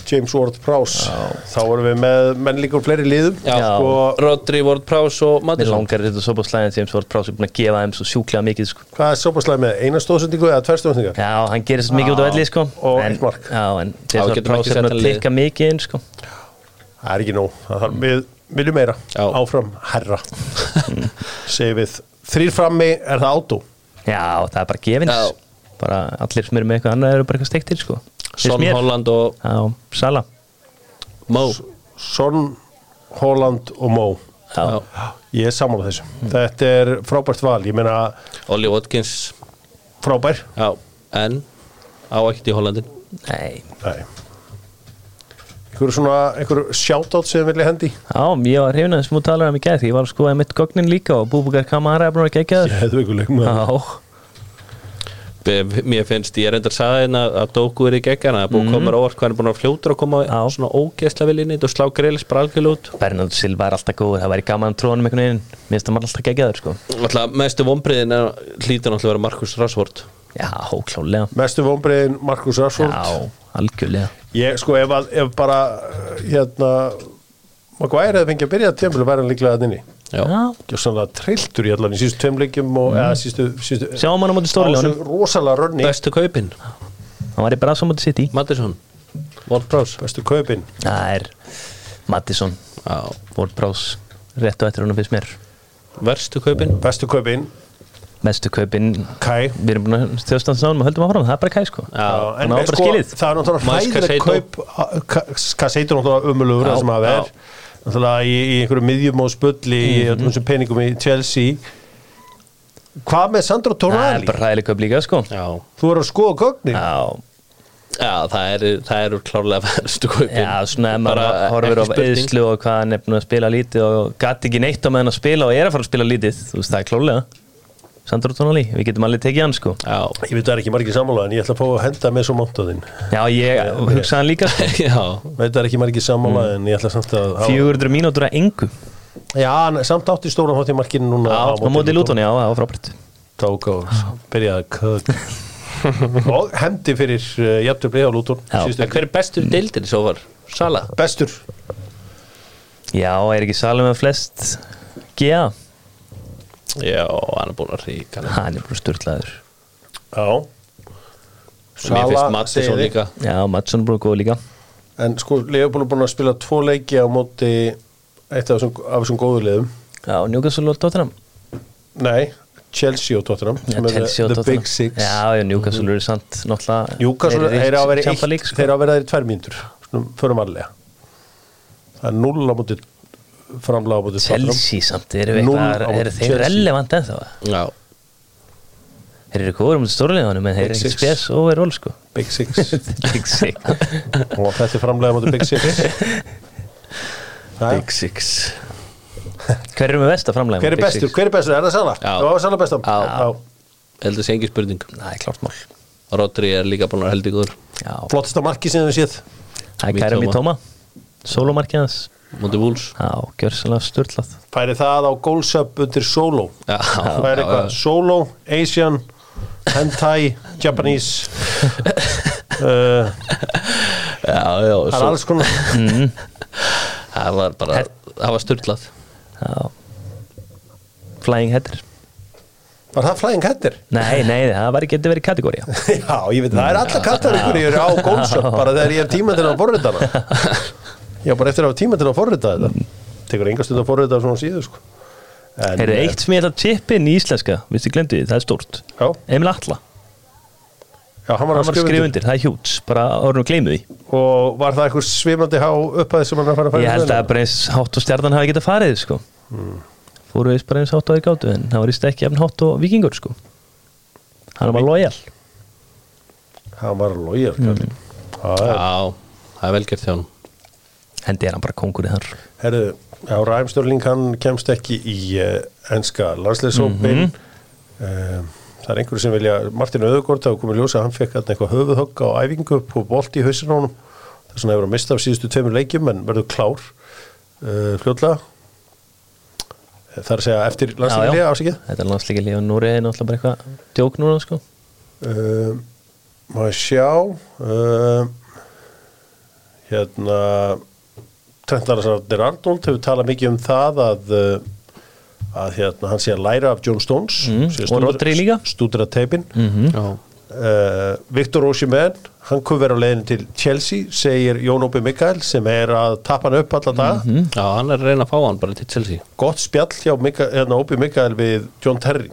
S1: James Ward Prowse Þá erum við með menn líka úr fleiri liðum
S2: já,
S3: Já.
S1: Sko,
S2: Rodri, Ward Prowse og
S3: Mér
S2: Mattisson
S3: langar þetta svo bara slæðin James Ward, Prásipnur búin að gefa þeim svo sjúklega mikið sko
S1: Hvað er sópaslæði með? Eina stóðsendingu eða tvær stóðsendingar?
S3: Já, hann gerir svo mikið út á velli sko
S1: og
S3: En-
S1: eitt mark.
S3: Já, en
S2: Já,
S3: James Ward,
S2: getum ekki sett
S3: Prásipnur
S2: hann
S3: að
S2: í lið.
S3: tikka mikið inn sko
S1: Það er ekki nóg Það þarf Við viljum meira
S2: Já.
S1: Áfram herra (laughs) Segir við Þrýr frammi er það átó
S3: Já, það er bara gefins
S2: Já.
S3: bara allir sem eru með eitthvað annað eru bara eitthvað steiktir sko. Finnst
S2: Son
S3: mér.
S2: Holland og
S3: Já, Sala
S2: Mo
S1: Son, Holland og Mó
S3: Já.
S1: Ég er sammála þessu Þetta er frábært val Ég meina
S2: Olli Watkins
S1: frábær
S2: Já, en á ekkert í Hollandin
S3: Nei,
S1: Nei Einhverju svona, einhverju shoutout sem vilja hendi
S3: já, ég var hrifin að smú talar um í gæð því ég var að skoða mitt gögnin líka og búbúkar kamara er búin að gegja þér
S1: hefðu ykkur leikum
S3: Já,
S2: Be- Mér finnst, ég reyndar saði hérna að Doku er í geggan að búið mm. komar óvart hvað hann er búin að vera fljótur að koma
S3: Já.
S2: svona ógeðsla vel inn í þetta og slá greilis bara algjörlega út
S3: Bernardo Silva er alltaf góður, það væri gaman að trónum einhvern veginn Mér finnst að maður alltaf gegja þér sko
S2: Alltaf mestu vonbriðin hlýtur náttúrulega að vera Markus Rashford
S3: Já, klálega
S1: Mestu vonbreiðin Markus Rashford
S3: Já, algjörlega
S1: Ég sko ef, að, ef bara uh, hérna Maguire hefði fengið að byrja að tjömblu væri hann líklega að inni
S2: Já,
S1: Gjóðsannlega trilltur í allan í sístu tjömbleikjum og eða
S3: Mm.
S1: sístu, sístu
S3: Sjáum hann á móti stórljónum,
S1: rosalega rönni
S2: bestu kaupin
S3: hann var í Brasa móti sitt í
S2: Mattisson, Walt Prowse
S1: Bestu kaupin
S3: Það er Mattisson,
S2: Já,
S3: Ward Prowse rétt og eftir hún finnst mér
S2: verstu kaupin
S1: Bestu kaupin
S3: Mestu kaupin,
S1: Kai
S3: við erum búin að stjóðstans náðum og höldum áfram, það er bara kæ sko
S2: Já,
S1: en
S3: hann á
S1: með
S3: bara
S1: sko,
S3: skilið.
S1: það er náttúrulega
S2: Mas
S1: hæðilegt
S2: Casado.
S1: kaup Kaseitur náttúrulega umulugur
S2: Já,
S1: það sem að
S2: já.
S1: vera náttúrulega í, í einhverju miðjum og spulli í
S3: Mhm.
S1: öllum þessum peningum í Chelsea hvað með Sandro
S3: Það er
S1: Tonali?
S3: bara hræðileg köp líka sko
S2: Já,
S1: þú er að skoða gögnin
S3: Já,
S2: já það eru það eru klárlega (laughs) verstu kaupin
S3: já svona ef maður
S2: Bara
S3: horfir
S2: ekki
S3: á
S2: spurning.
S3: eðslu og hvað hann er búin að spila lítið og gæti ekki neitt á meðan að spila og er að fara að spila lítið Þú veist, það er klólega Sandro Tonali, við getum alveg tekið hann sko
S2: Já,
S1: ég veit það er ekki margir sammála en ég ætla að fá að henda með svo montaðinn
S3: Já, ég hugsa hann líka sko (laughs)
S2: já
S1: veit það er ekki margir sammála
S3: Mm.
S1: en ég ætla samt að hafa-
S3: 400 mínútur að engu
S1: já, en samt átti stóran hótt í marginu núna
S3: Já, á móti lútoni, já, það var frábært
S1: tók og byrjaði að kög (laughs) og hendi fyrir uh, jafntöfli á Lúton
S3: Já.
S1: síðustu
S2: En
S1: helgi.
S2: Hver er bestur deildin svo var? Sala?
S1: bestur
S3: Já, er ekki salum með flest G.A.
S2: Já, hann er búin að ríka
S3: Hann er bara sturlaður
S1: Já
S2: Mér finnst Mattisson
S1: segir þig.
S2: líka
S3: Já, Madsson er bara góð líka
S1: En sko, Leopold er búin að spila tvo leiki á móti eitt af þessum, af þessum góðu liðum
S3: Já, Newcastle og Tottenham
S1: Nei, Chelsea og Tottenham
S3: Já,
S1: sem eru
S3: Chelsea og
S1: The
S3: Tottenham.
S1: Big Six Mhm.
S3: Já, já, Newcastle eru samt náttúrulega
S1: Newcastle,
S3: Þeir eru í
S1: þeir á að vera
S3: Champions
S1: eitt
S3: League, sko.
S1: þeir á að vera þeir í tvær mínútur svona, förum varlega Það er null á móti framlega á móti Tottenham
S3: Chelsea samt, eru, við
S1: Núll
S3: eitthvað,
S1: á
S3: eru þeir
S1: Chelsea.
S3: relevant ennþá?
S2: Já,
S3: Þeir eru góður um stórleðanum en þeir eru
S1: Big
S3: ekki
S1: six.
S3: spes overall sko
S1: Big Six
S3: Big (laughs) Six
S1: (laughs) og þetta er framlega á móti Big
S2: (laughs)
S1: Six Nei,
S2: Six
S3: Hver eru með besta framlega?
S1: Hver er bestur? Hver er bestur? Er það Sala?
S2: Já.
S1: Það var Sala bestur
S2: Já. Heldur þessi engi spurning
S3: Það er klart mál
S2: Rodri er líka búin að heldur góður
S3: Já,
S1: flottista marki sem við séð
S3: það er kæra mér tóma Sólumarkið hans
S2: Móti Wools
S3: Já, gjörsalega störtlað
S1: færi það á goalsöp undir solo
S2: Já,
S1: það er
S2: já,
S1: eitthvað solo, asian
S2: (laughs)
S1: hentai, japanese uh,
S2: já, já,
S1: það er
S2: svo,
S1: alls konar
S2: það var bara það var styrlað
S3: Já Flying header
S1: var það flæðing hættir?
S3: (laughs) Nei, nei, það var ekki getur verið kategóri Já,
S1: já, ég veit, það er alla kattar ykkur ég er á goalsöp bara þegar ég hef tíma til að forrita
S3: (laughs)
S1: hana já, bara eftir að hafa tíma til að forrita þetta tekur enga stund að forrita svona síðu sko. En,
S3: Heyrðu,
S1: eh,
S3: eitt sem ég ætla að tippa inn í íslenska Vistu, glemdu því, það er stórt
S1: já,
S3: Emil Atla,
S1: já, hann var
S3: hann
S1: að
S3: var að skrifa undir, það er hjúts Bara orðin og gleymu því
S1: og var það eitthvað svimandi há upphæði sem hann var að fara að fara
S3: Ég held að
S1: að
S3: bara eins hátt og stjarnan hafi getað farið sko. Fóru eins bara eins hátt og þeir gátu En það var í stekki efn hátt og vikingur sko. Hann var lojal
S1: hann var að logja mm.
S2: Já, það er velgert hjá hann
S3: Hendi er hann bara kongur í þar
S1: Herru, já, Ræm Störling hann kemst ekki í uh, enska landsleisópin mm það er einhverju sem vilja Martin Öðugord, það er komið ljósa að hann fekk þarna eitthvað höfuðhögg á æfingu upp og bolt í hausinn á honum þess vegna hefur hann mistað af síðustu tveimur leikjum en verður klár uh, fljótlega Eh, það er að segja eftir landsleikja ásækið
S3: Þetta er landsleika líf og Núri er náttúrulega bara eitthvað djók núna sko.
S1: uh, má ég sjá uh, hérna Trent Alexander Arnold hefur talað mikið um það að uh, að hérna, hann sé að læra af John Stones
S3: Mm,
S1: sé að
S3: og
S1: stúdera-
S3: Rodri líka. Mhm.
S1: stúdera teipin
S2: Já,
S1: uh, Viktor Osimhen hann kom vera á leiðin til Chelsea segir Jón Ópi Mikael sem er að tappa hann upp alla daga
S3: Mhm.
S2: já, hann er að reyna að fá hann bara til Chelsea
S1: gott spjall hjá Mikael, hérna, Ópi Mikael við John Terry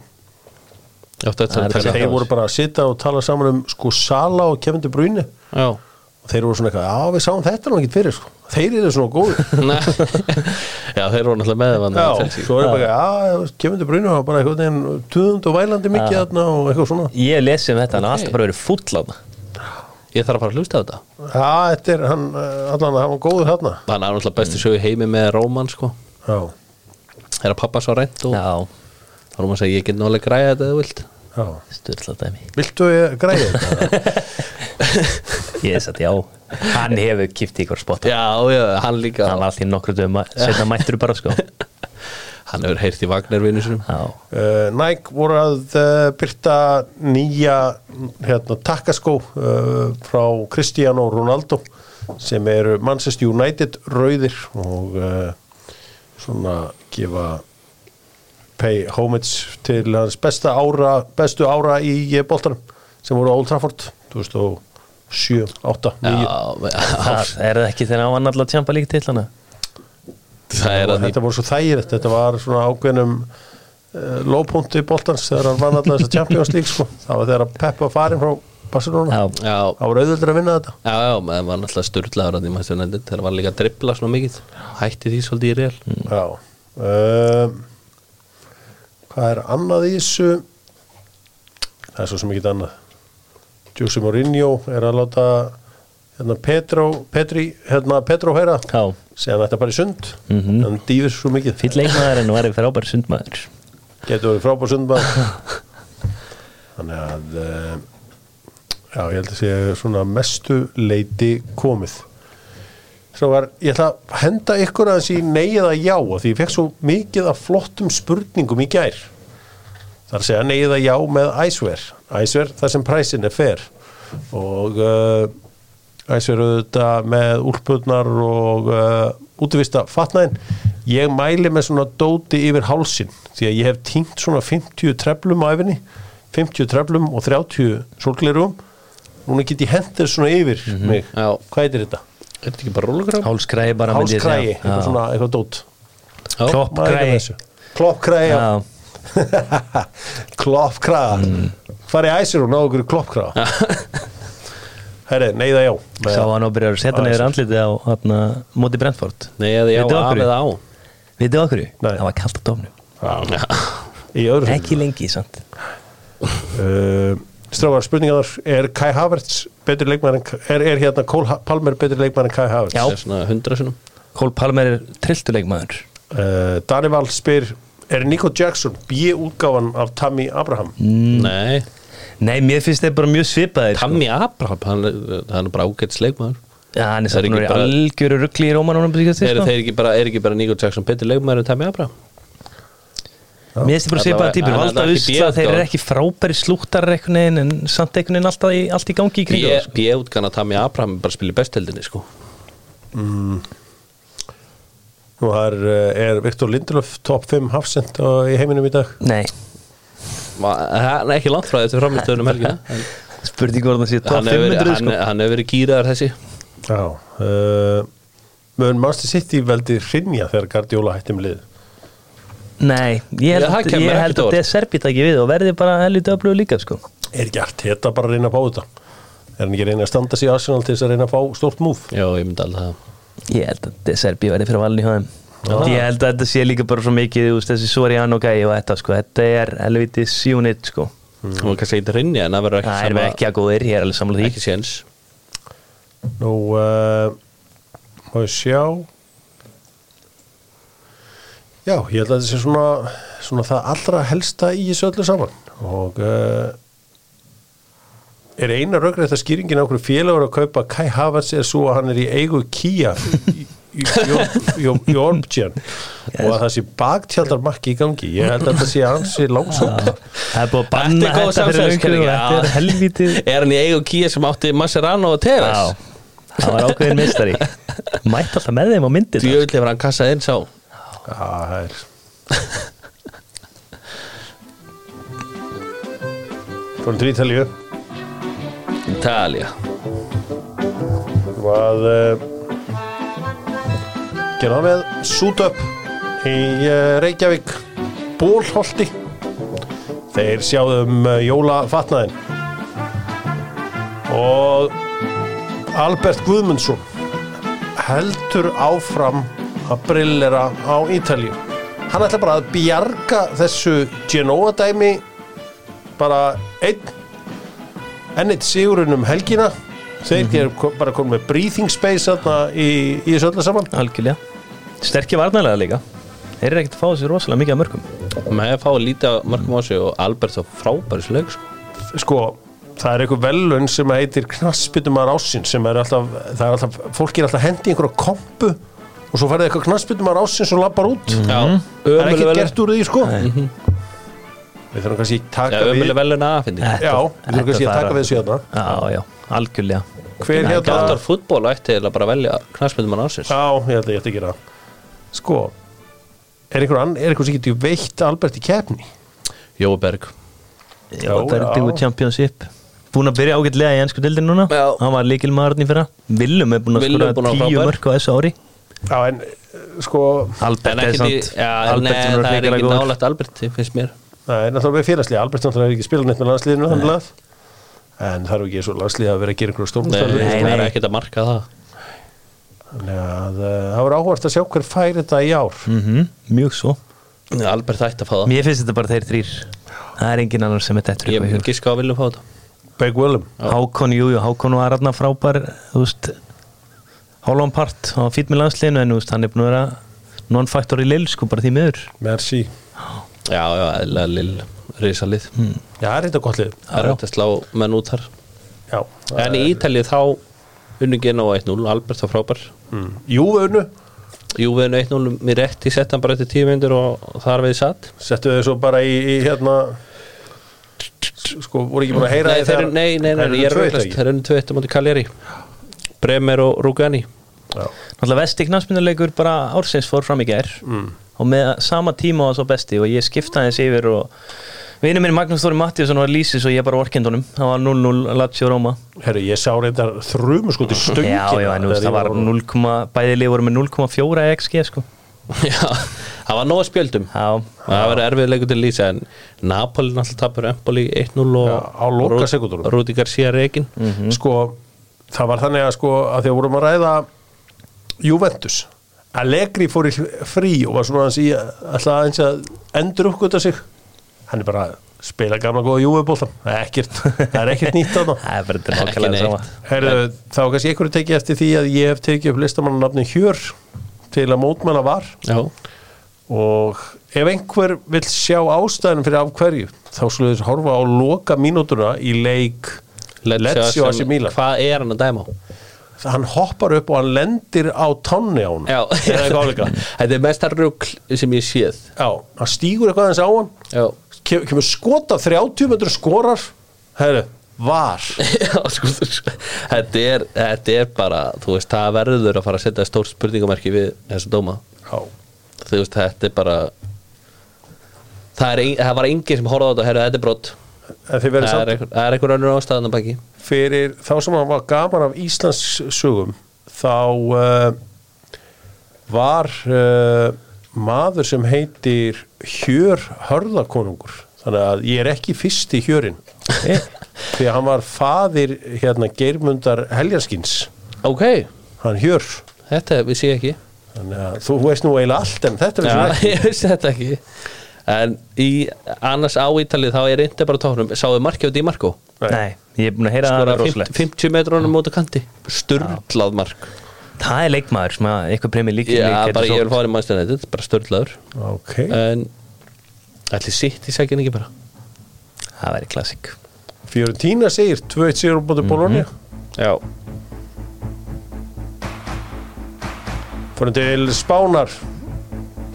S2: Já, þetta
S3: Það
S2: er
S3: er
S2: Chelsea
S3: það.
S1: þeir voru bara að sitja og tala saman um sko Sala og Kevin De Bruyne
S2: Já, (laughs)
S1: og þeir voru svona eitthvað, já við sáum þetta nú ekkert fyrir sko. þeir eru svona (laughs) góðir
S2: Nei. já þeir voru náttúrulega með hann
S1: já,
S2: Chelsea.
S1: svo er bara, já, kemur til Brynju hann var bara eitthvað neginn tuðund og vælandi mikið þarna og eitthvað svona
S3: Ég lesi um þetta, hann okay. alltaf bara verið fúll á það
S2: Ég þarf að fara að hlusta á þetta
S1: já, þetta er hann, eh, allan að hann var góður þarna
S2: Hann er náttúrulega bestu sögu í heimi með Róman sko
S1: já,
S2: Er að pappa svo reynd og
S3: Já,
S2: Róman segi ég get nálega græja þetta eða þú vilt
S1: já
S3: styrla dæmi
S1: viltu að ég græði þetta?
S3: Ég er satt já, hann hefur kipt í ykkur spotta
S2: Já, já, hann líka
S3: Hann var alltaf í nokkru dögum Setna mættur bara sko Já,
S2: Hann hefur heyrt í Vagnervinu sinum
S1: Uh, Nike voru að uh, byrta nýja hérna, takkaskó uh, frá Cristiano Ronaldo sem eru Manchester United rauðir og uh, svona gefa pay homage til hans besta ára, bestu ára í eh, boltanum sem voru á Old Trafford 2007, 8, 9
S2: Já,
S3: það er það ekki þegar hann var náttúrulega tjampa líka til hana
S2: það er
S1: og
S2: að
S1: þetta voru svo þægilegt þetta var svona ákveðnum uh, lópunti boltans þegar hann vann alltaf þess að Champions League sko. það var þegar að Pep var farin frá Barcelona
S3: Já,
S2: Já,
S1: það voru auðvöldur að vinna þetta
S2: Já, já, maður var náttúrulega styrlaður að því maður stjórnendir þegar var líka að dribbla svona mikið hætti því svolítið í reil
S3: Mm.
S1: já um, hvað er annað í þessu það er svo sem ekki annað Jose Mourinho er að láta hérna Petro Petri, hérna Petro heyra
S3: já
S1: segja þetta bara í sund
S3: Mhm.
S1: hann dýfir svo mikið
S3: Fýll leikmaður en var frábær sundmaður
S1: getur verið frábær sundmaður (laughs) þannig að eh, já, ég held að sé svona mestu leiti komið svo var, ég ætla að henda ykkur aðeins í nei eða já af því ég fekk svo mikið af flottum spurningum í gær það er að segja nei eða já með æsver æsver þar sem præsin er fer og uh, æsver auðvitað með úlputnar og uh, útvista fatnaðin ég mæli með svona dóti yfir hálsin því að ég hef týnt svona 50 treflum á æfinni 50 treflum og 30 sólglerum núna get ég hendur svona yfir mig,
S2: Já.
S1: hvað heitir þetta?
S2: Er þetta ekki bara rólugræm?
S3: Hálskræði bara myndi ég
S1: hálskræi,
S3: segja.
S1: eitthvað svona eitthvað dót
S3: Klopp.
S1: Maður er
S3: Kræi.
S1: með þessu. kloppkræi
S3: Já,
S1: já.
S3: já.
S1: (laughs) kloppkræa
S3: Mm.
S1: hvað er æsir og náðu ykkur kloppkræa (laughs) herri, neyða já Með-
S3: Sá hann og byrjar að setja
S1: Já,
S3: neyður
S1: já.
S3: andlitið á hana, móti Brentford
S2: Nei, eða já,
S3: Vitið af
S2: af
S3: hverju?
S2: eða á
S3: Vitið okkur?
S1: Nei.
S3: Það var kallt á dómnu
S1: Já. í öðru
S3: Ekki lengi, sant?
S1: uh, strágar spurningar er Kai Havertz betri leikmæður en er, er hérna Kól Palmer betri leikmæður en Kai Havertz
S3: Já.
S2: Það er svona hundra sinum
S3: Kól Palmer er trilltuleikmaður
S1: uh,
S3: Mm.
S1: Danival spyr er Nico Jackson B-útgáfan af Tammy Abraham
S2: Nei,
S3: Nei, mér finnst þeir bara mjög svipaðir sko.
S2: Tammy Abraham, hann, er- hann er bara ágætt leikmaður
S3: Já, hann
S2: Það er
S3: er samt
S2: ekki
S3: núna í
S2: bara-
S3: algjöru ruggli í sko. Rómanunum Mér
S2: eru
S3: finnst
S2: þeir ekki bara, er ekki bara Nico Jackson betur leikmaður en Tammy Abraham
S3: þeir bara
S2: Allavega-
S3: svipaða típur
S2: hann er
S3: Valda
S2: allavega ekki
S3: usla,
S2: B-útgáfan.
S3: þeir eru ekki frábæri slúttar einhvern veginn en samt einhvern veginn alltaf í, allt í gangi í kringum þá, sko.
S2: B-útgana Tammy Abraham er bara spilir besteldinni sko
S1: Nú er, eh, er Viktor Lindelöf top 5 hafsend á- í heiminum í dag
S3: Nei,
S2: Ma- hann er ekki langt frá þetta framistöðunum
S3: (laughs)
S2: helgina En
S3: spurning hvort það sé top
S2: hann hefur
S3: 500
S2: verið,
S3: sko.
S2: hann, hann hefur verið gýraðar þessi
S1: Já uh, Mön Manchester City veldi hrinja þegar Guardiola hætti með lið
S3: Nei, ég held,
S2: Já, það kemur
S3: ég
S2: ekkert
S3: held
S2: á
S3: að
S2: óvart.
S3: Deserbi takki við og verði bara helviti öflugur líka sko.
S1: Er gert þetta bara að reyna að fá þetta Er hann ekki að reyna að standa sig í Arsenal til þess að reyna að fá stórt múf
S2: já, ég myndi alltaf það
S3: Ég held að Deserbi verði fyrir valin í hóðum Ég held að þetta sé líka bara svo mikið úst, þessi Soriano gæi og þetta sko. þetta er helviti sjúnit sko.
S2: hann var kannski eitthvað rinni en það verður ekki
S3: Það er ekki að góðir, ég er alveg samlega því
S2: ekki séns
S1: Nú uh, Má ég sjá Já, ég held að þetta sé svona, svona það allra helsta í þessu öllu saman og uh, er eina raugrætt að skýringin á hverju félagur að kaupa Kai Havertz er svo að hann er í eigu Kia í- í í Ormtján og að það sé baktjaldarmakki í gangi ég held að þetta sé ansi langsótt
S3: Það er búið að banna
S2: góð
S3: þetta fyrir löngu
S2: samsæðiskenning,
S3: og
S2: já.
S3: þetta er helviti
S2: er hann í eigu kýja sem átti Masserano og
S3: Já,
S2: Teres
S3: það var ákveðin mistari Mætt alltaf með þeim á myndin
S2: djöðlega hefur hann kassað eins á
S1: Já, það er Fórum til Ítalíu
S2: Italia
S1: Hvað uh, Gerða með Sútöp í uh, Reykjavík Bólholti Þeir sjáðum uh, jólafatnaðin og Albert Guðmundsson heldur áfram að brillera á Ítalíu hann ætla bara að bjarga þessu Genoa dæmi bara einn enn eitt sigurinn um helgina þeir mm -hmm. bara komið með breathing space þarna í, í þessu öllu saman
S3: Algjörlega Sterkir varnarlega líka Þeir eru ekkert að fá þessi rosalega mikið af mörgum
S2: maður hefði fáið lítið af mörgum á sig og Albert þá frábæri slög sko.
S1: sko, það er einhver velun sem heitir knassbytumar ásinn sem er alltaf, það er alltaf, fólk er alltaf hendi einhverja kompu og svo færði eitthvað knassbytumar ásinn sem lappar út
S2: já,
S1: það er
S2: ömuleg
S1: ekkert
S2: velun
S1: gert úr því sko við þurfum kannski að taka
S2: já,
S1: við
S2: ömuleg velun aðfindi
S1: já, við þurfum kannski að taka við þessu hérna
S3: Já, já, algjörlega
S1: hver hérna
S2: gáttar fútból ætti eiginlega bara að velja knastmyndumann ásins
S1: Já, ég held að ég ætti að gera það. Sko, er einhver, ann- er einhver sem getur veitt Albert í keppni?
S2: Jói Berg
S3: Já, það er
S1: já.
S3: byggur Championship Búin að byrja ágætlega í ennsku dildin núna
S2: Já.
S3: Hann var líkilmaðurinn í fyrra Willum er búin að
S2: Willum
S3: skora
S2: búinn að vera
S3: tíu
S2: frábær.
S3: mörg á þessu ári
S1: Já, en eh, sko,
S2: en
S3: Albert er
S2: ekki því
S3: samt
S2: já, nei,
S3: Albert er
S2: það er
S3: hrikalega
S2: ekki
S3: góður
S2: nálægt Albert finnst mér
S1: það er náttúrulega við félagslega, Albert náttúrulega er ekki spilað neitt með landsliðinu þannig að en það er ekki svo landslið að vera að gera einhverju
S2: Nei,
S1: stórmstæður
S3: nei.
S2: það er ekkert að marka það
S1: þannig að eh, það var áhvert að sjá hver fær þetta í ár
S3: Mhm, Mjög svo
S2: Albert ætti að fá það
S3: Mér finnst þetta bara þeir þrýr Það er engin annar sem þetta eftir
S2: Ég myndi giska á að vilja fá þetta
S1: Beg Willem
S3: Hákon, jú, jú, Hákon var aðna frábær Þú veist Hálfan part, hann var fýtt með landsliðinu En þú veist, hann er búin að vera non-factor í lill Sko bara því miður
S1: Merci
S2: Já, já, eða lill, risalið
S1: Já, það er þetta gott lið
S2: Það er hægt að slá menn út þar
S1: Já,
S2: En í Ítalið þá unnu Genoa 1-0, Albert var frábær
S1: mm. Jú, unnu,
S2: Júviðinu 1-0, mér rétti sett hann bara eftir tíu myndir og og þar við satt
S1: settu þau svo bara í, í hérna sko, voru ekki búin að heyra
S2: Nei,
S1: því
S2: þeir,
S1: þegar-
S2: nei, nei,
S1: Þeir
S2: nei,
S1: eru
S2: ég
S1: tvö
S2: er
S1: eitt,
S2: rauglast
S1: ekki?
S2: Þeir unnu 2-1 á móti Kaljari Bremer og Rugani
S1: Já.
S3: Náttúrulega vesti knafsmynduleikur bara ársins fór fram í gær mm. og með sama tíma var svo besti og ég skipta hans yfir og vinur minn Magnús Þóri Mattíasson var lýsis og ég bara orkendunum það var 0-0 Lazio Róma
S1: Herru, ég sá reyndar þrjum sko til stöngina
S3: Já, já, en þú veist, það var 0, bæði lið voru með 0,4 XG sko
S2: (laughs) Já, það var nóg að spjöldum
S3: Já,
S2: Það var erfið leikur til lýsa en Napoli náttúrulega tapur Empoli 1-0 og
S1: Já, á lokasekúndunum.
S2: Rúdi Garcia Rekin
S1: sko, það var þannig að sko að því að vorum að ræða Juventus Allegri fór í hl- frí og var svona aðeins í alltaf aðeins að endur uppgöta sig hann er bara að spila gamla góða Juvebólta það er ekkert, það er ekkert nýtt að það
S3: það er bara þetta er
S2: Ekki
S3: nákvæmlega
S2: neitt.
S3: sama
S1: Herru, þá var kannski einhverju tekið eftir því að ég hef tekið upp listamannanafni Hjör til að mótmæla var
S2: Já,
S1: og ef einhver vill sjá ástæðanum fyrir af hverju þá skulle þess horfa á loka mínútuna í leik Lecce og AC Milan
S2: Hvað er hann að dæma á?
S1: hann hoppar upp og hann lendir á tánni á hann
S2: Já, (laughs)
S1: eða eitthvað álíka.
S2: þetta er mestar rugl sem ég séð
S1: Já, hann stígur eitthvað aðeins á hann
S2: Já,
S1: kem, kemur skota 30 metrur skorar herru, var
S2: (laughs) Já sko, þú- þetta er, þetta er bara, þú veist, það verður að fara að setja stór spurningamarki við þessu dóma
S1: Já,
S2: Þú veist, þetta er bara Það, er, ein- það var enginn sem horfði á þetta, herru, þetta er brot
S1: en þið verður
S2: Það er
S1: samt
S2: einhver- það er einhver önnur ástæðan að baki
S1: fyrir þá sem hann var gaman af Íslands sögum þá uh, var uh, maður sem heitir Hjör Hörðakonungur þannig að ég er ekki fyrst í Hjörin því að hann var faðir hérna Geirmundar Heljarskins
S2: Ok,
S1: hann Hjör
S2: þetta við sé ekki
S1: þannig að þú veist nú eiginlega allt en þetta
S2: Já,
S1: veist
S2: (laughs) ég vissi þetta ekki En í, annars á Ítalið þá er reyndi bara tóknum Sáðu markið á Di Marco
S1: Nei.
S3: Nei, ég er búin að heyra að það
S2: Bara
S3: er
S2: 50,
S3: rosalegt
S2: 50 metrónum mót á kanti Sturlað mark
S3: Það er leikmaður sem að eitthvað premjör líki
S2: Já, bara ég vil fáið í mannstæðan Þetta er bara sturlaður
S1: við ok
S2: (laughs) En ætli sitt í sækinn ekki bara
S3: Það væri klassik
S1: Fiorentina segir 2-1 sigur á bóti Bólónia mm -hmm.
S2: Já
S1: Fyrir til Spánar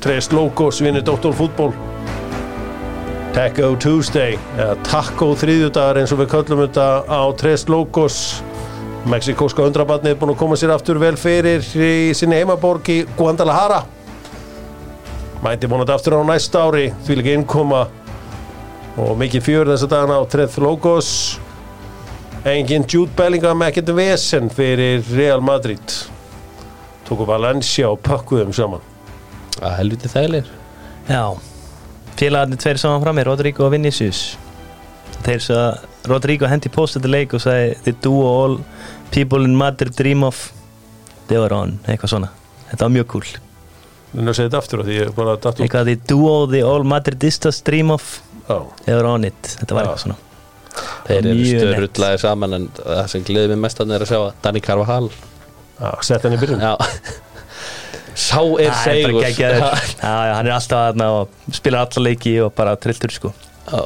S1: Tres Logos vinnir Dr. Fútból Taco Tuesday eða Taco þriðjudagar eins og við köllum þetta á Tres Logos Mexikóska hundrabarnið er búin að koma sér aftur vel fyrir í sinni heimaborg í Guadalajara mæti vonandi aftur á næsta ári því líka innkoma og mikið fjör þessa dagana á Tres Logos engin Jude Bellingham ekkert vesen fyrir Real Madrid tóku Valencia og pökkuðum saman
S2: Að helviti þægilegir
S3: Já Félagarnir tveir saman fram með Rodrigo og Vinicius Þeir svo að Rodrigo hendi postið til leik og sagði They do all people in Madrid dream of They were on, eitthvað svona Þetta var mjög cool
S1: en að segja þetta aftur af því ég bara datt út
S3: Eitthvað they do all the all Madridistas dream of
S1: Já.
S3: They were on it, þetta var
S1: Já.
S3: eitthvað svona
S2: Þeir eru
S3: Mjög nett.
S2: sturlaðir saman En það sem gleði mig mest að er að sjá að Danny Carvajal
S1: Já, sett hann í byrjun
S2: Já Sá er
S3: Það er
S2: segur (laughs)
S3: bara geggjaður. Já, já, hann er alltaf aðna og spila alla leiki og bara trilltur sko
S2: Já.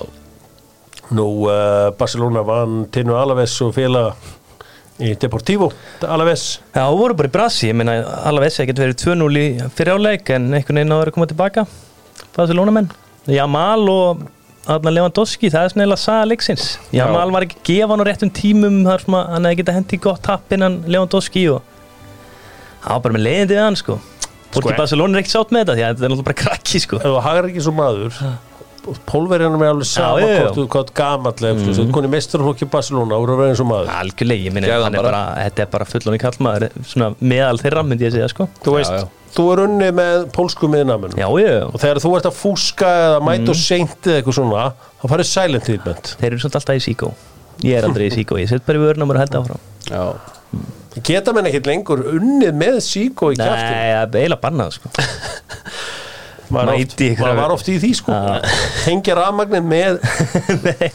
S1: nú uh, Barcelona vann Tino Alaves og félaga í Deportivo Alaves
S3: Já, og voru bara í brasi, ég meina alveg þessi ekkert verið 2-0 í fyrir áleik en einhvern veginn á að vera að koma tilbaka Barcelona menn, Jamal og Adna Lewandowski, það er svona eða saga leiksins Jamal var ekki að gefa hann á réttum tímum þar sem að hann hefði getað hendi gott tapp innan Lewandowski og það var bara með leiðindi við hann sko Fólk
S1: Sko,
S3: í Barcelona er ekkert sátt með þetta því að þetta er náttúrulega bara krakki sko
S1: ef þú hagar ekki svo maður pólverjanum er alveg sama
S3: Já, Mhm. já, já.
S1: hvort þú hvað gamall mm. þú ert koni mesturflokki Barcelona og þú verður eins og maður
S3: Algjörlega, ég minna,
S2: Gerðu
S3: hann
S2: það
S3: er bara, þetta er bara fullonni kallmaður, svona meðal þeirra myndi ég segja, sko.
S1: þú veist,
S2: já.
S1: þú er unni með pólsku miðnamunum
S3: Já, Mhm. já,
S1: og þegar þú ert að fúska eða mæta og seint eða eitthvað svona þá farið silent treatment
S3: þeir eru svolítið alltaf í síkó. Ég er aldrei í síkó, ég set bara í vörnum og er að held áfram.
S2: Já
S1: geta menn ekkit lengur unnið með síko í
S3: Nei,
S1: kjæftin
S3: það er eiginlega bannað, sko.
S1: maður
S3: Mæti
S1: oft,
S3: ykkur
S1: maður
S3: að- Ah.
S1: var oft í því sko hengja rafmagnir með
S3: Nei,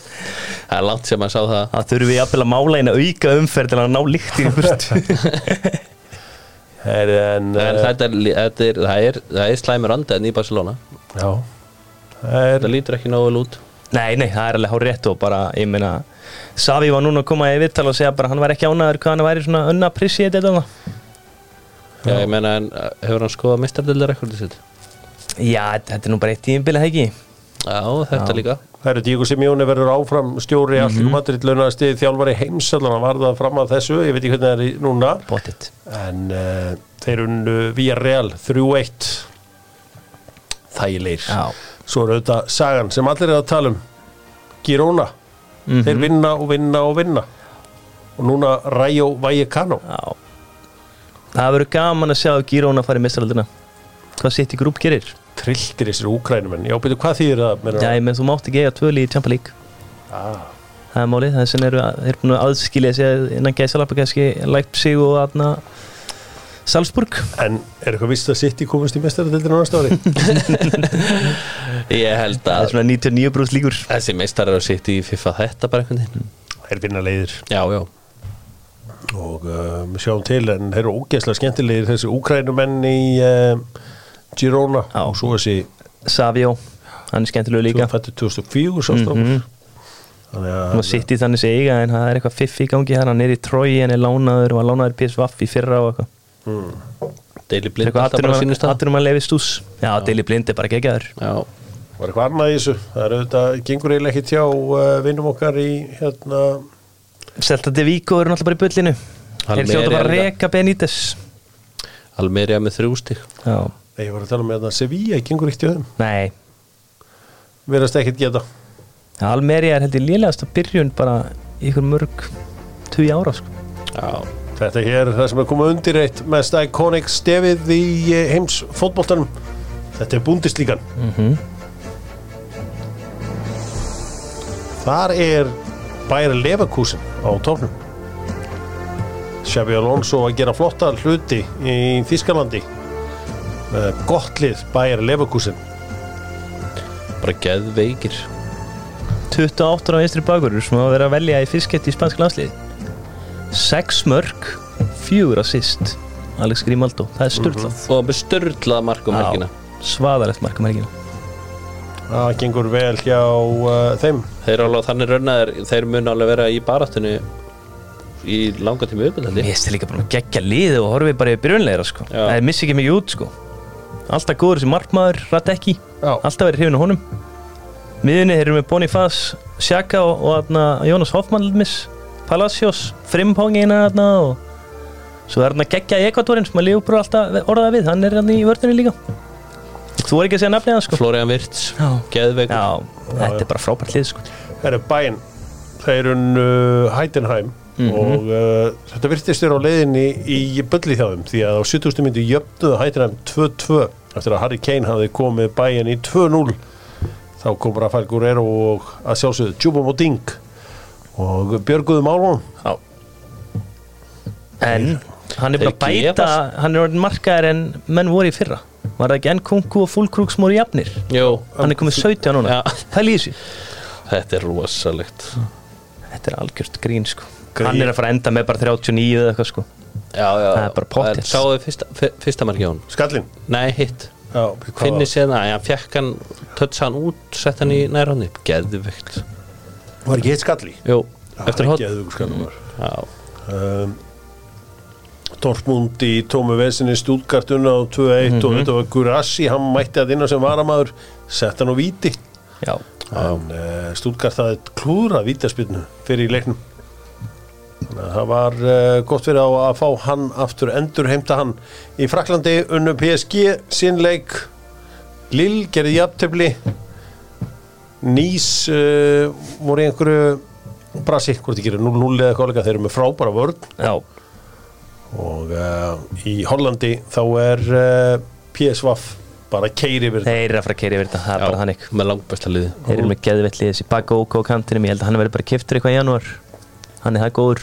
S2: Það er langt sem að sá það
S3: það þurfum við jafnvel að mála einu auka umferð til að ná líktin í burt.
S1: er, en,
S2: En
S1: eh,
S2: þetta er, þetta er, það er, það er slæmur andan í Barcelona
S1: já, það er
S2: Þetta lítur ekki nógu vel út
S3: Nei, nei, það er alveg hár rétt og bara, ég meina, Savi var núna að koma í vittal og segja bara hann var ekki ánæður hvað hann væri svona unappreciated af það.
S2: Já, ég meina, en, uh, hefur hann skoðað mistardildar rekordið sitt?
S3: Já, þetta er nú bara eitt tíðinbilið, hegi.
S2: Já, þetta líka
S1: Það eru Díko Simjóni verður áfram stjóri mm
S3: Mhm.
S1: -hmm. Madrid launastið þjálfari heimsallan að varða fram að þessu, ég veit ekki hvernig það er í núna
S3: Bóttið.
S1: en uh, þeir unnu via Real 3-1 þægilegir
S3: Já.
S1: svo er auðvitað sagan sem allir er að tala um Girona
S3: Mhm.
S1: þeir vinna og vinna og vinna og núna Rayo Vallecano
S3: Já Það verður gaman að sjá að Girona fara í mestralaldina Hvað sitt í grúp gerir
S1: trilltir þessir úkrænumenn já, betur hvað þýðir það? meina-
S3: Já, ég menn þú mátt ekki eiga tvöli í Champa League
S1: Ah,
S3: Það er málið, þess vegna eru að- þeir eru búin að aðskilja sig innan gæsalappa kannski Leipzig og aðna Salzburg
S1: en er eitthvað vist að City komast í mestaradildinu næsta
S3: (laughs)
S1: ári?
S2: Ég held
S3: Það er
S2: að
S3: svona 99 brúst líkur
S2: þessi meistar eru að sitja í FIFA þetta bara einhvern veginn
S1: er vinna leiðir um,
S2: Já, já
S1: og uh, sjáum til en þeir eru ógeðslega skemmtilegir þessi úkrænumenn í uh, Girona
S3: Já.
S1: og svo þessi
S3: Savio, hann er skemmtilegu líka
S1: fættu 2004 sá strákur
S3: Mhm.
S1: þannig
S3: hann
S1: að
S3: var sitt í þannig sig eiga en það er eitthvað fiffi í gangi hann, hann er í trói, hann er lánaður og hann lánaður PSVaf í fyrra og eitthvað
S2: Deili
S3: Það er
S2: blind alltaf bara á sínum
S3: eitthvað
S2: stað
S3: aðturum að lefi stús Já, Deli Blind er bara geggjaður
S2: Já,
S1: var eitthvað annað í þessu það er auðvitað, gengur eiginlega ekki tjá uh, vinnum okkar í hérna
S3: Celta de Vigo eru náttúrulega bara í bullinu
S2: Hann
S3: Þeir hljóta
S2: meiri
S3: bara að
S2: alveg.
S3: reka Benítez
S2: Almeria með þrjústig
S3: Já,
S1: Nei, ég var að tala með þetta Sevilla, gengur eitt í þeim
S3: nei
S1: verðast ekkert geta
S3: Almeria er held ég lélegast að byrjun bara í ykkur mörg tugi ára sko.
S2: Já,
S1: Þetta hér er það sem er komið undir eitt mest iconic stefið í eh, heims fótboltanum. Þetta er búndislíkan. Þar er Bayer Leverkusen á tóknum. Xabi Alonso að gera flotta hluti í Þískalandi. Gott lið Bayer Leverkusen.
S2: bara geðveikir
S3: 28 á einstri bakurur sem hafa verið að velja í fiskett í spansk landslið 6 mörg 4 assist Alex Grimaldo, það er sturlað
S2: Og með störlað markum helgina
S3: Svaðalegt marka merkina
S1: Það gengur vel hjá uh, þeim.
S2: Þeir eru alveg þannig raunaðir, þeir mun alveg vera í baráttunni í langa tími uppbyrðaldi
S3: Mér finnst þið líka bara geggja liði og horfið bara í byrjunleira sko.
S2: Já.
S3: Það missi ekki mikið út sko. Alltaf góður sem markmaður, rætt ekki
S1: Já.
S3: Alltaf verið hrifin á honum Miðunni þeir eru með Bonifaz, Sjaka og, og atna, Jónas Hoffmann Lidmis Palacios, Frimpongina atna, og svo er hann að geggja í Ekvatorinn sem að Leopold alltaf orðaði við hann er hann í vörðinni líka Þú er ekki að segja nafnið hann sko.
S2: Florian Virts,
S3: Já.
S2: geðveikur
S3: Já, þetta er bara frábært lið sko.
S1: Það eru bæinn, þeir unnu Heidenheim og uh, þetta virtist þér á leiðinni í bölli hjá þeim því að á 70. myndu jöfnuðu Heidenheim 2-2 eftir að Harry Kane hafði komið bæinn í 2-0 þá kom Rafael Guerrero og að sjálfsögðu Júbom og Ding og björguðu málum
S2: Já.
S3: En hann er bara að
S2: Þeir
S3: bæta
S2: gefast.
S3: Hann er orðin markaðar en menn voru í fyrra Var það ekki enn Kunku og Fullkrug sem voru jafnir
S2: Jú,
S3: Hann er komið 17
S2: Já.
S3: núna Það lýsi
S2: þetta er rosalegt
S3: Þetta er algjört grín sko
S1: Grín.
S3: Hann er að fara að enda með bara 39 eða eitthvað sko
S2: Já, já,
S3: Það er bara pottþétt.
S2: En Sáðu fyrsta, fyr- fyrsta marki á hann
S1: skallinn
S2: Nei, hitt
S1: Já,
S2: Finni séð það, hann fekk hann, tötsa hann út, sett hann
S3: Mm.
S2: í nærhóndi Geðveikt
S1: var ekki eitt skalli
S2: Jú, eftir hótt
S1: Geðugur skallum var
S2: Já,
S1: um, Dortmund í tómu vesinni stúlkartuna á 2-1 og þetta var Gurassi, hann mætti að inna sem varamaður sett hann á víti
S3: Já
S1: en uh, stúlkart það klúðra vítaspilnu fyrir í leiknum Þannig að það var uh, gott fyrir á að fá hann aftur endur heimta hann í Fraklandi unnu PSG sinnleik Lill gerði jafntefli Nýs uh, voru í einhverju Brasi, hvort ekki er 0-0 eða kollega, þeir eru með frábæra vörn
S3: Já
S1: og uh, í Hollandi þá er uh, PSVaf bara keiri yfir
S3: Þeir eru að fara að keira yfir þetta Það er bara þannig
S2: með langbæsta liði
S3: Þeir eru með geðvelli þessi baka OK á kantinum Ég held að hann verður bara kiftur eitthvað í janúar Hann er það góður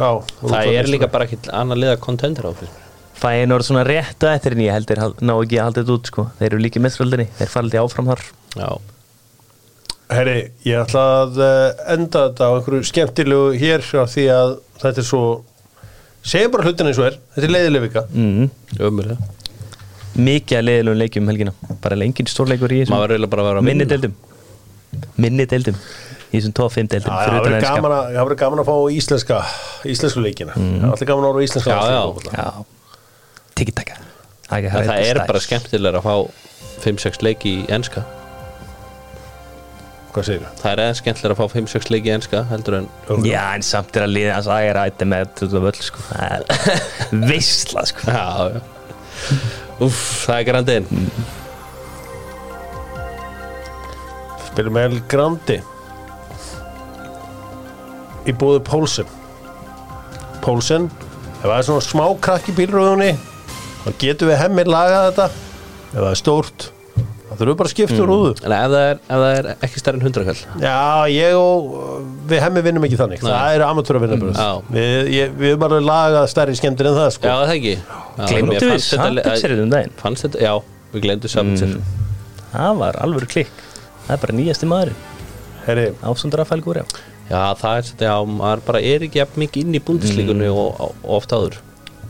S1: á,
S2: Það er líka bara ekkert annað liða kontender á fyrir mér
S3: Fæin orð svona rétt að eftir en ég held þeir hal- ná ekki að halda þetta út sko Þeir eru líki mestraldinni Þeir fara aldrei áfram þar
S2: Já,
S1: Herri, ég ætla að eh, enda þetta á einhverju skemmtilegu hér af því að þetta er svo segjum bara hlutin eins og er, þetta er leiðileg vika
S3: mm.
S2: ömurlega
S3: mikið að leiðilegum leikjum um helgina bara lengið stórleikur í
S2: Maður verður eiginlega
S3: þessum
S2: bara að vera að
S3: minni
S2: vinna.
S3: deildum minni deildum í þessum top 5 deildum
S1: Já, Það
S3: fyrir
S1: verður
S3: utan
S1: gaman, að- það verður gaman að fá íslenska íslensku leikina, það er alltaf gaman að orða íslenska
S2: Mm. Já,
S1: landsliðið
S2: já.
S1: í fótbolta.
S3: enska. já, tiki-taka það
S2: En það er
S3: stærst.
S2: bara skemmtilega að fá 5-6 leiki í enska
S1: Hvað segir það?
S2: Það er eða skemmtilega að fá 5-6 leiki í enska heldur en
S3: já, en samt er að liða hans ægir ætti með þetta völl sko Það er (laughs) veisla sko
S2: Já, já Úff, það er grandin
S1: Spilum El Grandi í búðu Pólsen Pólsen ef það er svona smá krakk í bílröðunni þá getum við hemmir lagað þetta ef það er stórt þá þurfum við bara að
S2: Mm.
S1: skipta úr rúðu
S2: En ef það er, ef það er ekki stærri en 100 kall
S1: Já, ég og við hemmi vinnum ekki þannig
S2: Nei.
S1: Það eru amatúra vinnabröð
S2: Já.
S1: Við, ég- við erum alveg lagað stærri skemmtir en það
S2: Já,
S1: sko.
S2: það er ekki Já, mér
S3: glemdu við
S2: fannst þetta le-
S3: Sabitzer um daginn
S2: Fannst þetta, já, við glemdu Sabitzer
S3: það var alvöru klikk það er bara nýjasti maður
S1: Heri,
S3: ásund Rafael Gúri
S2: Já, það er þetta, já, maður bara er ekki jafn mikið inn í búndislíkunni og, og oft áður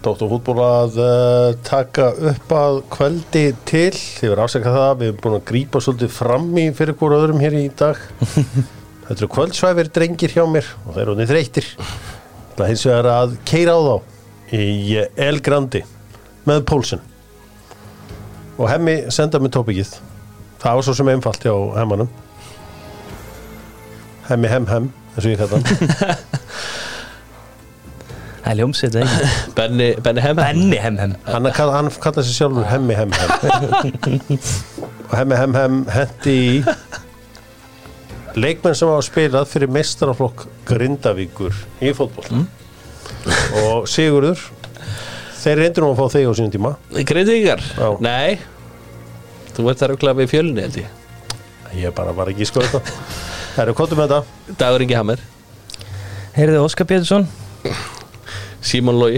S1: Dóttur fútból að uh, taka upp að kveldi til þið verður afsakað það, við erum búin að grípa svolítið fram í fyrir hvora öðrum hér í dag Þetta eru kvöldsvæfir drengir hjá mér og þeir eru niður þreytir Það hins vegar að keira á þá í El Grandi með Pólsen og hemmi senda með tópikið Það var svo sem einfalt hjá hemmanum Hemmi hem hem eins og ég kalla hann
S3: Það er ljómsið þetta
S2: (laughs) Benni, Benni Hemmen
S3: Benni hem hem
S1: hann, kall, hann kallar sig sjálfur hemmi hem hem og hemmi hem hem hendi í leikmenn sem hafa spilað fyrir mestaraflokk Grindavíkur í fótboll
S3: Mm.
S1: og Sigurður þeir reyndur nú að fá þig á sínum tíma
S2: Grindavíkar?
S1: Já.
S2: Nei Þú ert þar okkur við fjölunni held ég
S1: ég bara var ekki sko þetta það eru kottum með þetta
S2: Dagur Ingi Hammer
S3: Heyrðu Óskar Pétursson
S2: Simon Lói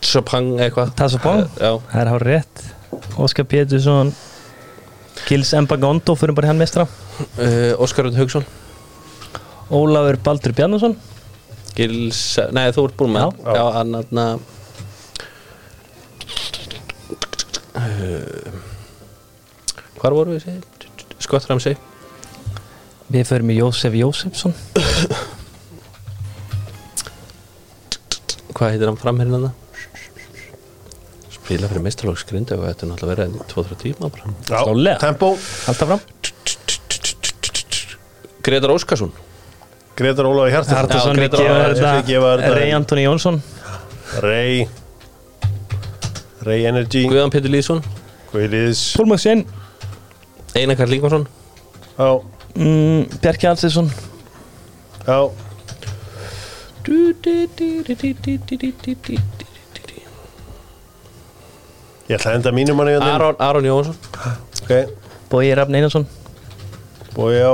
S2: Chopang eitthvað
S3: Tassapong
S2: Já
S3: Það er hár rétt Óskar Pétursson Gils Mbagondo fyrir bara hann mestra
S2: uh, Óskar Rönd Haugsson
S3: Ólafur Baldur Bjarnason
S2: Gils Nei þú ert búinn með hann.
S1: Já.
S2: Já, hann hann að Eh, Hvar voru við segið? Skottramsi
S3: Við förum í Jósef Jósefsson
S2: Hvað heitir hann hérna framherinn hann? Spila fyrir meistarlóks Grindavík Þetta er náttúrulega verið en 2-3 tíma bara
S3: Slálega.
S1: tempo
S3: Alltaf fram
S2: Gretar Óskarsson
S1: Gretar Ólafi Hjartarsson
S3: Hjartarson
S2: Já,
S3: við
S2: Grétar
S3: gefa
S2: Ólafur,
S1: við gefa
S3: þetta
S1: þetta-
S3: Rey Antoni Jónsson
S1: Rey Rey Energy
S2: Guðan Pétur Lýðsson
S1: Guðliðis
S3: Pólmaks Jén
S2: Einar Karl Líkvarsson
S1: já
S3: Mm, Bjarki Alsinsson
S1: já ég ætla að enda mínum manni hérna inn.
S2: Aron, Aron Jónsson
S1: ok
S3: Bói Rafn Einarsson
S1: Bói á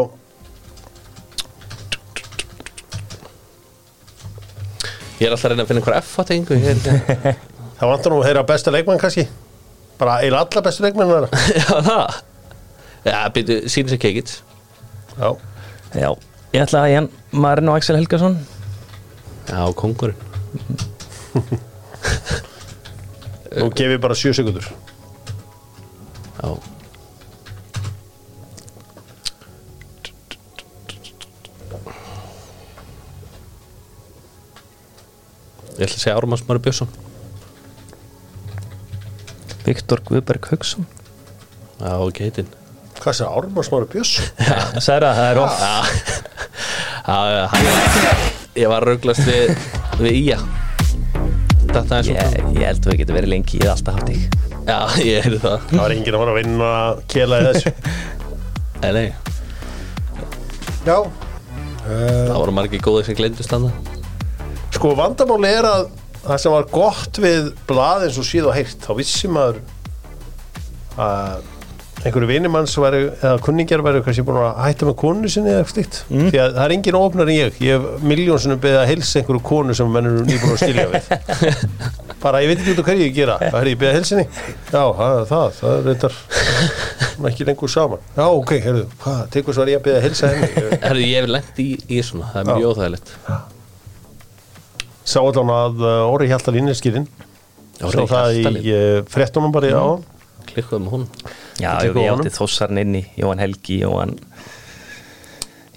S2: Ég er alltaf að reyna að finna einhver F-fatengu Já, (laughs)
S1: Það vantar nú að heyra besta leikmann kannski Bara eila alla bestu leikmann þeirra
S2: það Já, byrju, sín sem kekit
S1: Já,
S3: Já Ég ætla að Ján Marino Axel Helgason
S2: Já, kongurinn
S1: nú gef ég bara sjö sekundur
S2: Já Ég ætla að segja Ármann Smári Björnsson
S3: Viktor Guðberg Haugsson
S2: Já, ok, heitinn
S1: Hvað sér Ármann Smári Björs?
S3: Særa, það er oft
S2: Já, já, já, hann- Ég var rauglast við, við Ía Þetta er
S3: Ég,
S2: svona
S3: ég held að við getum verið lengi í það alltaf haft ég
S2: Já, ég heyrði það
S1: Það var enginn að fara að vinna að kela í þessu
S2: Nei, nei,
S1: Já
S2: það voru margir góðir sem gleymdist hann
S1: Sko vandamáli er að það sem var gott við blað eins og síð og heyrt þá vissi maður að einhverju vinnumann sem væri eða kunningjar væri kannski búin að hætta með konu sinni eða eitthvað slíkt því að það er enginn ofnar en ég ég hef miljónsunum beðið að hilsa einhverju konu sem menn eru nýbúin að skilja (laughs) við bara ég veit ekki út af hverju ég gera það er ég beðið að hilsa henni já það, það, það er reyndar hún er ekki lengur saman já ok, heyrðu, hvað, tekur svo að ég að beðið að hilsa henni (laughs) Ég-
S2: Herðu, ég hef lengt í, í svona, það er mjög óþægilegt
S1: sá allan að uh, Orri Hjaltal inneskýrin
S2: Já,
S1: Sá
S2: Orri
S1: það
S2: Hjaltalinn.
S1: í uh, fréttunum bara já,
S2: Klikkuðu með hún
S1: Ég
S3: Já, jú,
S1: tekur
S3: ég
S1: honum.
S3: átti þossarn inn í Jóhann Helgi, Jóhann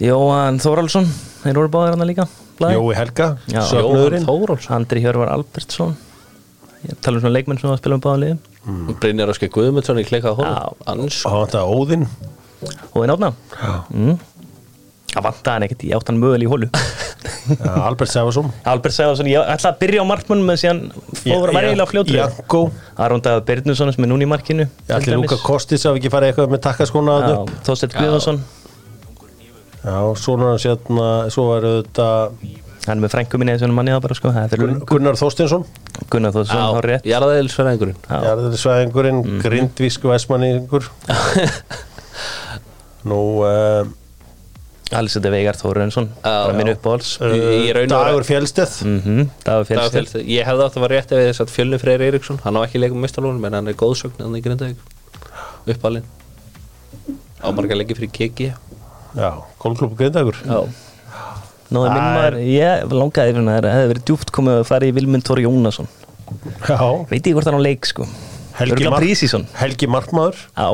S3: Jóhann Þóraldsson Þeir voru báðir hann líka blaði.
S1: Jói Helga,
S3: Já.
S1: söfnuðurinn
S2: Þórólfsson
S3: Andri Hjörvar Albertsson Ég tala um svona leikmenn sem var að spila með báðum liðum
S2: mm. Brynjar Áskei Guðmundsson í klikkað hún
S3: Já.
S2: Ans
S1: og hann vantaði Óðinn
S3: og við náðum mm. Það vantaði hann ekkert, ég átti hann mögulega í hólu (laughs)
S1: ja, Eh, Albert Sæfarsson
S3: Albert sagði það svona, ég ætla að byrja á markmannum en síðan fóður að vera eiginlega fljótur
S1: Jankó,
S3: Aron Dagur Byrnusson sem er núna í markinu
S1: ég ætli Lúka Kostis að ekki fara eitthvað með takkaskona þarna upp.
S3: Þóstedt Guðvansson
S1: já, svona hann sérna svo var þetta
S3: hann er með frængu minni eða svona manni það bara sko það er fyrir
S1: Gun- Gunnar Þorstinsson
S3: löngu. Gunnar Þóðsson, þá rétt
S2: Jarðaðilsverðingurinn
S3: Já.
S1: jarðinsvæðingurinn, mm. grindvísk væsmanningur nú uh,
S3: Alessandr Veigar Þórensson bara
S2: já.
S3: minn uppáhalds
S2: Í- í raun og
S1: eh, Dagur Fjellsteð
S3: mm -hmm. Dagur Fjellstedt
S2: Ég hefði átt að vera rétt ef þess að Fjölni Freyr Eiríksson Hann á ekki leikum mistalónum en hann er góðsögn hann í Grindavík Uppalinn Á marga leiki fyrir KG
S1: já, Kólklub Grindagur
S2: Já
S3: Nóði minn
S1: Það
S3: maður, ég langaði fyrir hann að það hefði verið djúpt komið að fara í Vilmund Tóri Jónasson
S1: Já,
S3: veit ég hvort hann á leik sko
S1: Helgi,
S3: Örugglega
S1: Mark-
S3: prísíson.
S1: Helgi Markmaður
S3: á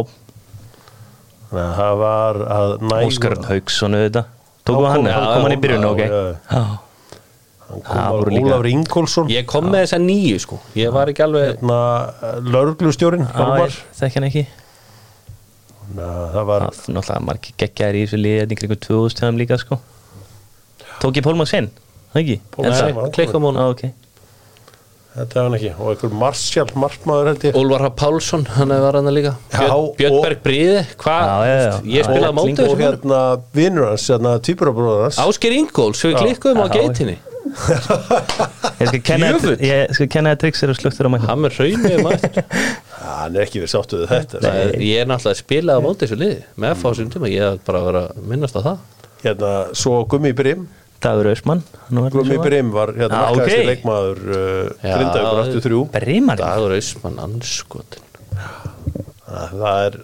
S1: Þannig að Það var að næg
S3: Óskar Hauksson auðvitað tókum
S1: Þá kom-
S3: hann,
S1: þá
S3: hann
S1: kom
S3: kom hann í
S1: hann,
S3: byrjun
S1: já,
S3: ok
S1: já, já.
S3: Já.
S1: Hann
S3: Það
S1: kom
S3: voru
S1: að
S3: líka-
S1: Ólafur Ingólfsson
S2: Ég kom með þessa nýju sko Ég var ekki alveg
S1: hérna, Lörglustjórin
S3: Já, Ah, ég þekki hann ekki
S1: Það var
S3: Það er náttúrulega margir geggjaðir í þessu liði hérna í kringum 2000 tjáðum líka sko Tók ég Pólmann sinn? Það ekki?
S1: Pólmann
S3: Er
S1: Sen
S3: það?
S1: var hann
S2: Klikkum hún
S3: Á, ok
S1: Þetta er hann ekki Og einhver Marsjál Markmaður held ég
S2: Úlvar Hrafn Pálsson, hann var hann líka
S1: Já,
S2: Björn, Björn
S1: og-
S2: Berg Bríði, hvað
S3: Já, já, já.
S2: Ég spilaði
S3: Og-
S2: mótið
S1: Og
S2: þessu hérna.
S1: hérna vinnur hans, hérna týpurabróður hans
S2: Ásker Ingóls, við klikkuðum á
S3: Já, já.
S2: geitinni
S3: Ég skal kenna
S2: Djöfull.
S3: Ég skal kenna það triksir og slugtur á mækna
S2: Hann er raunir maður
S3: (laughs)
S1: Hann er ekki verið sáttu við þetta
S2: Það er- Ég er náttúrulega að spila á mótið þessu liði með FH á sínum tíma, ég er bara að vera að minnast á það
S1: Hérna, svo Gummi Brim
S3: Dagur Ösmann
S1: Gummi Brim var hérna
S3: Ah,
S1: markaðasti
S3: ok.
S1: leikmaður uh,
S2: Já.
S1: Grindavíkur 83
S3: Brimar
S2: Dagur Ausmann, anskotin
S1: Ah, Það það er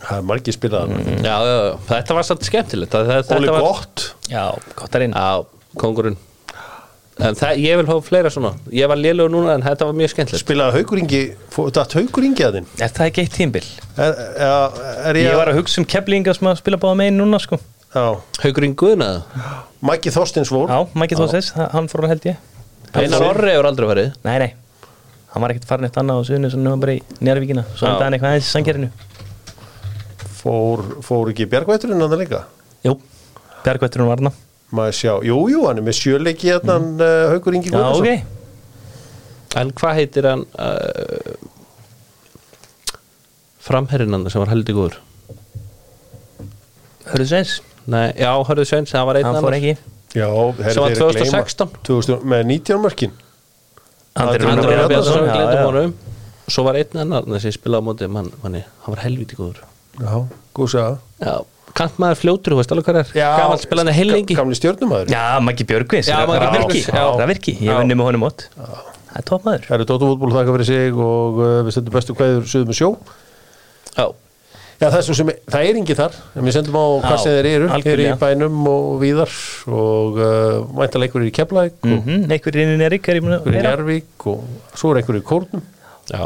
S1: Það er margir spilaðar mm.
S2: já, já, já, þetta var samt skemmtilegt það- það-
S1: Óli
S2: Mhm. Þetta var
S1: gott
S3: Já, gott að reyna
S2: Já, kongurinn En það, ég vil hafa fleira svona Ég var lélugur núna en þetta var mjög skemmtilegt
S1: Spilaði haukuringi Datt haukuringi að þinn
S3: Er það ekki eitt tímbil?
S1: Er, er, er ég,
S3: Ég var að hugsa um keflinga sem að spila báða megin núna sko
S1: Já,
S2: Haugurinn Guðnaða
S1: Maggi Þorstins vor
S3: Já, Maggi Þósins, hann fór hann held ég
S2: Einar Orri hefur aldrei verið
S3: Nei, nei Hann var ekkert farin eitt annað á suðinu sem hann var bara í Njárvíkina Svo
S2: Já.
S3: endaði hann eitthvað aðeins í sangerinu
S1: fór, fór ekki bjargvætturinn hann líka
S3: Jú, Bjargvætturinn var hann
S1: maður sjá, jú, jú, hann er með sjöleiki hérna mm. uh, Haukur Ingi
S3: Já,
S1: Guðnason
S3: ok
S2: En hvað heitir hann uh, Framherrin hann sem var heldig góður
S3: Hörðu Sveins,
S2: Nei, já, hörðu Sveins, það var einn
S3: hann fór
S2: annar
S3: ekki
S1: Já, herri,
S2: Sem var
S1: þeir gleyma.
S2: 2016.
S1: 2000, með 19 mörkin
S3: Andri
S1: Andri
S3: Rúnar
S2: Andri Bjarnason,
S3: Bjarnason, já,
S2: gleymdum
S3: já.
S2: honum Svo var einn annar þessi spilaði á móti mann, manni, hann var helviti góður
S1: Já, góð sagða
S2: Já, kant maður fljótur, þú veist alveg hvað er Gamal spilaði heilengi
S1: Gamli stjórnumæður
S3: Já, Maggi Björgvins,
S2: Já, Maggi Björgvins, já.
S3: Það virki, ég
S2: Já.
S3: vinni með honum átt Það er topmaður
S1: Það eru Dóttúfútból þakka fyrir sig og uh, við sendum bestu kveður suðum með sjó
S2: Já,
S1: Já, það, er svo sem, það er engin þar en við sendum á hvað
S3: Já,
S1: sem þeir eru Þeir eru í
S3: algjörlega.
S1: bænum og víðar og uh, mæntaleikur í Keflæk og mm.
S3: Mhm, Einhver inn í Nerik er ég búin að
S1: í
S3: vera
S1: Njárvík og svo er einhverju í Kórnum
S2: já,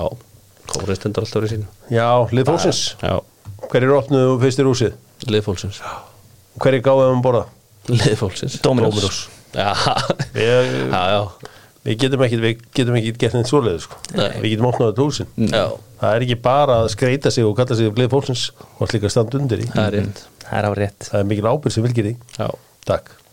S2: kórið stendur alltaf verið sínu
S1: Já, lið þósins
S2: Já,
S1: Hverjir opnuðu fyrstir húsið?
S2: liðfólksins
S1: Hverjir gáðu um borða?
S2: Liðfólksins
S3: Dominos.
S2: Já,
S1: Við,
S2: (laughs) já, já,
S1: við getum ekkit við getum ekkit gert neitt svoleiðis sko.
S2: Nei.
S1: við getum opnaðu þetta húsin
S2: já
S1: það er ekki bara að skreita sig og kalla sig glið
S2: Mm.
S1: fólksins og allir líka að standa undir í
S2: Það er rétt
S3: Það er á rétt
S1: það er mikil ábyrg sem vilkir í
S2: Já,
S1: takk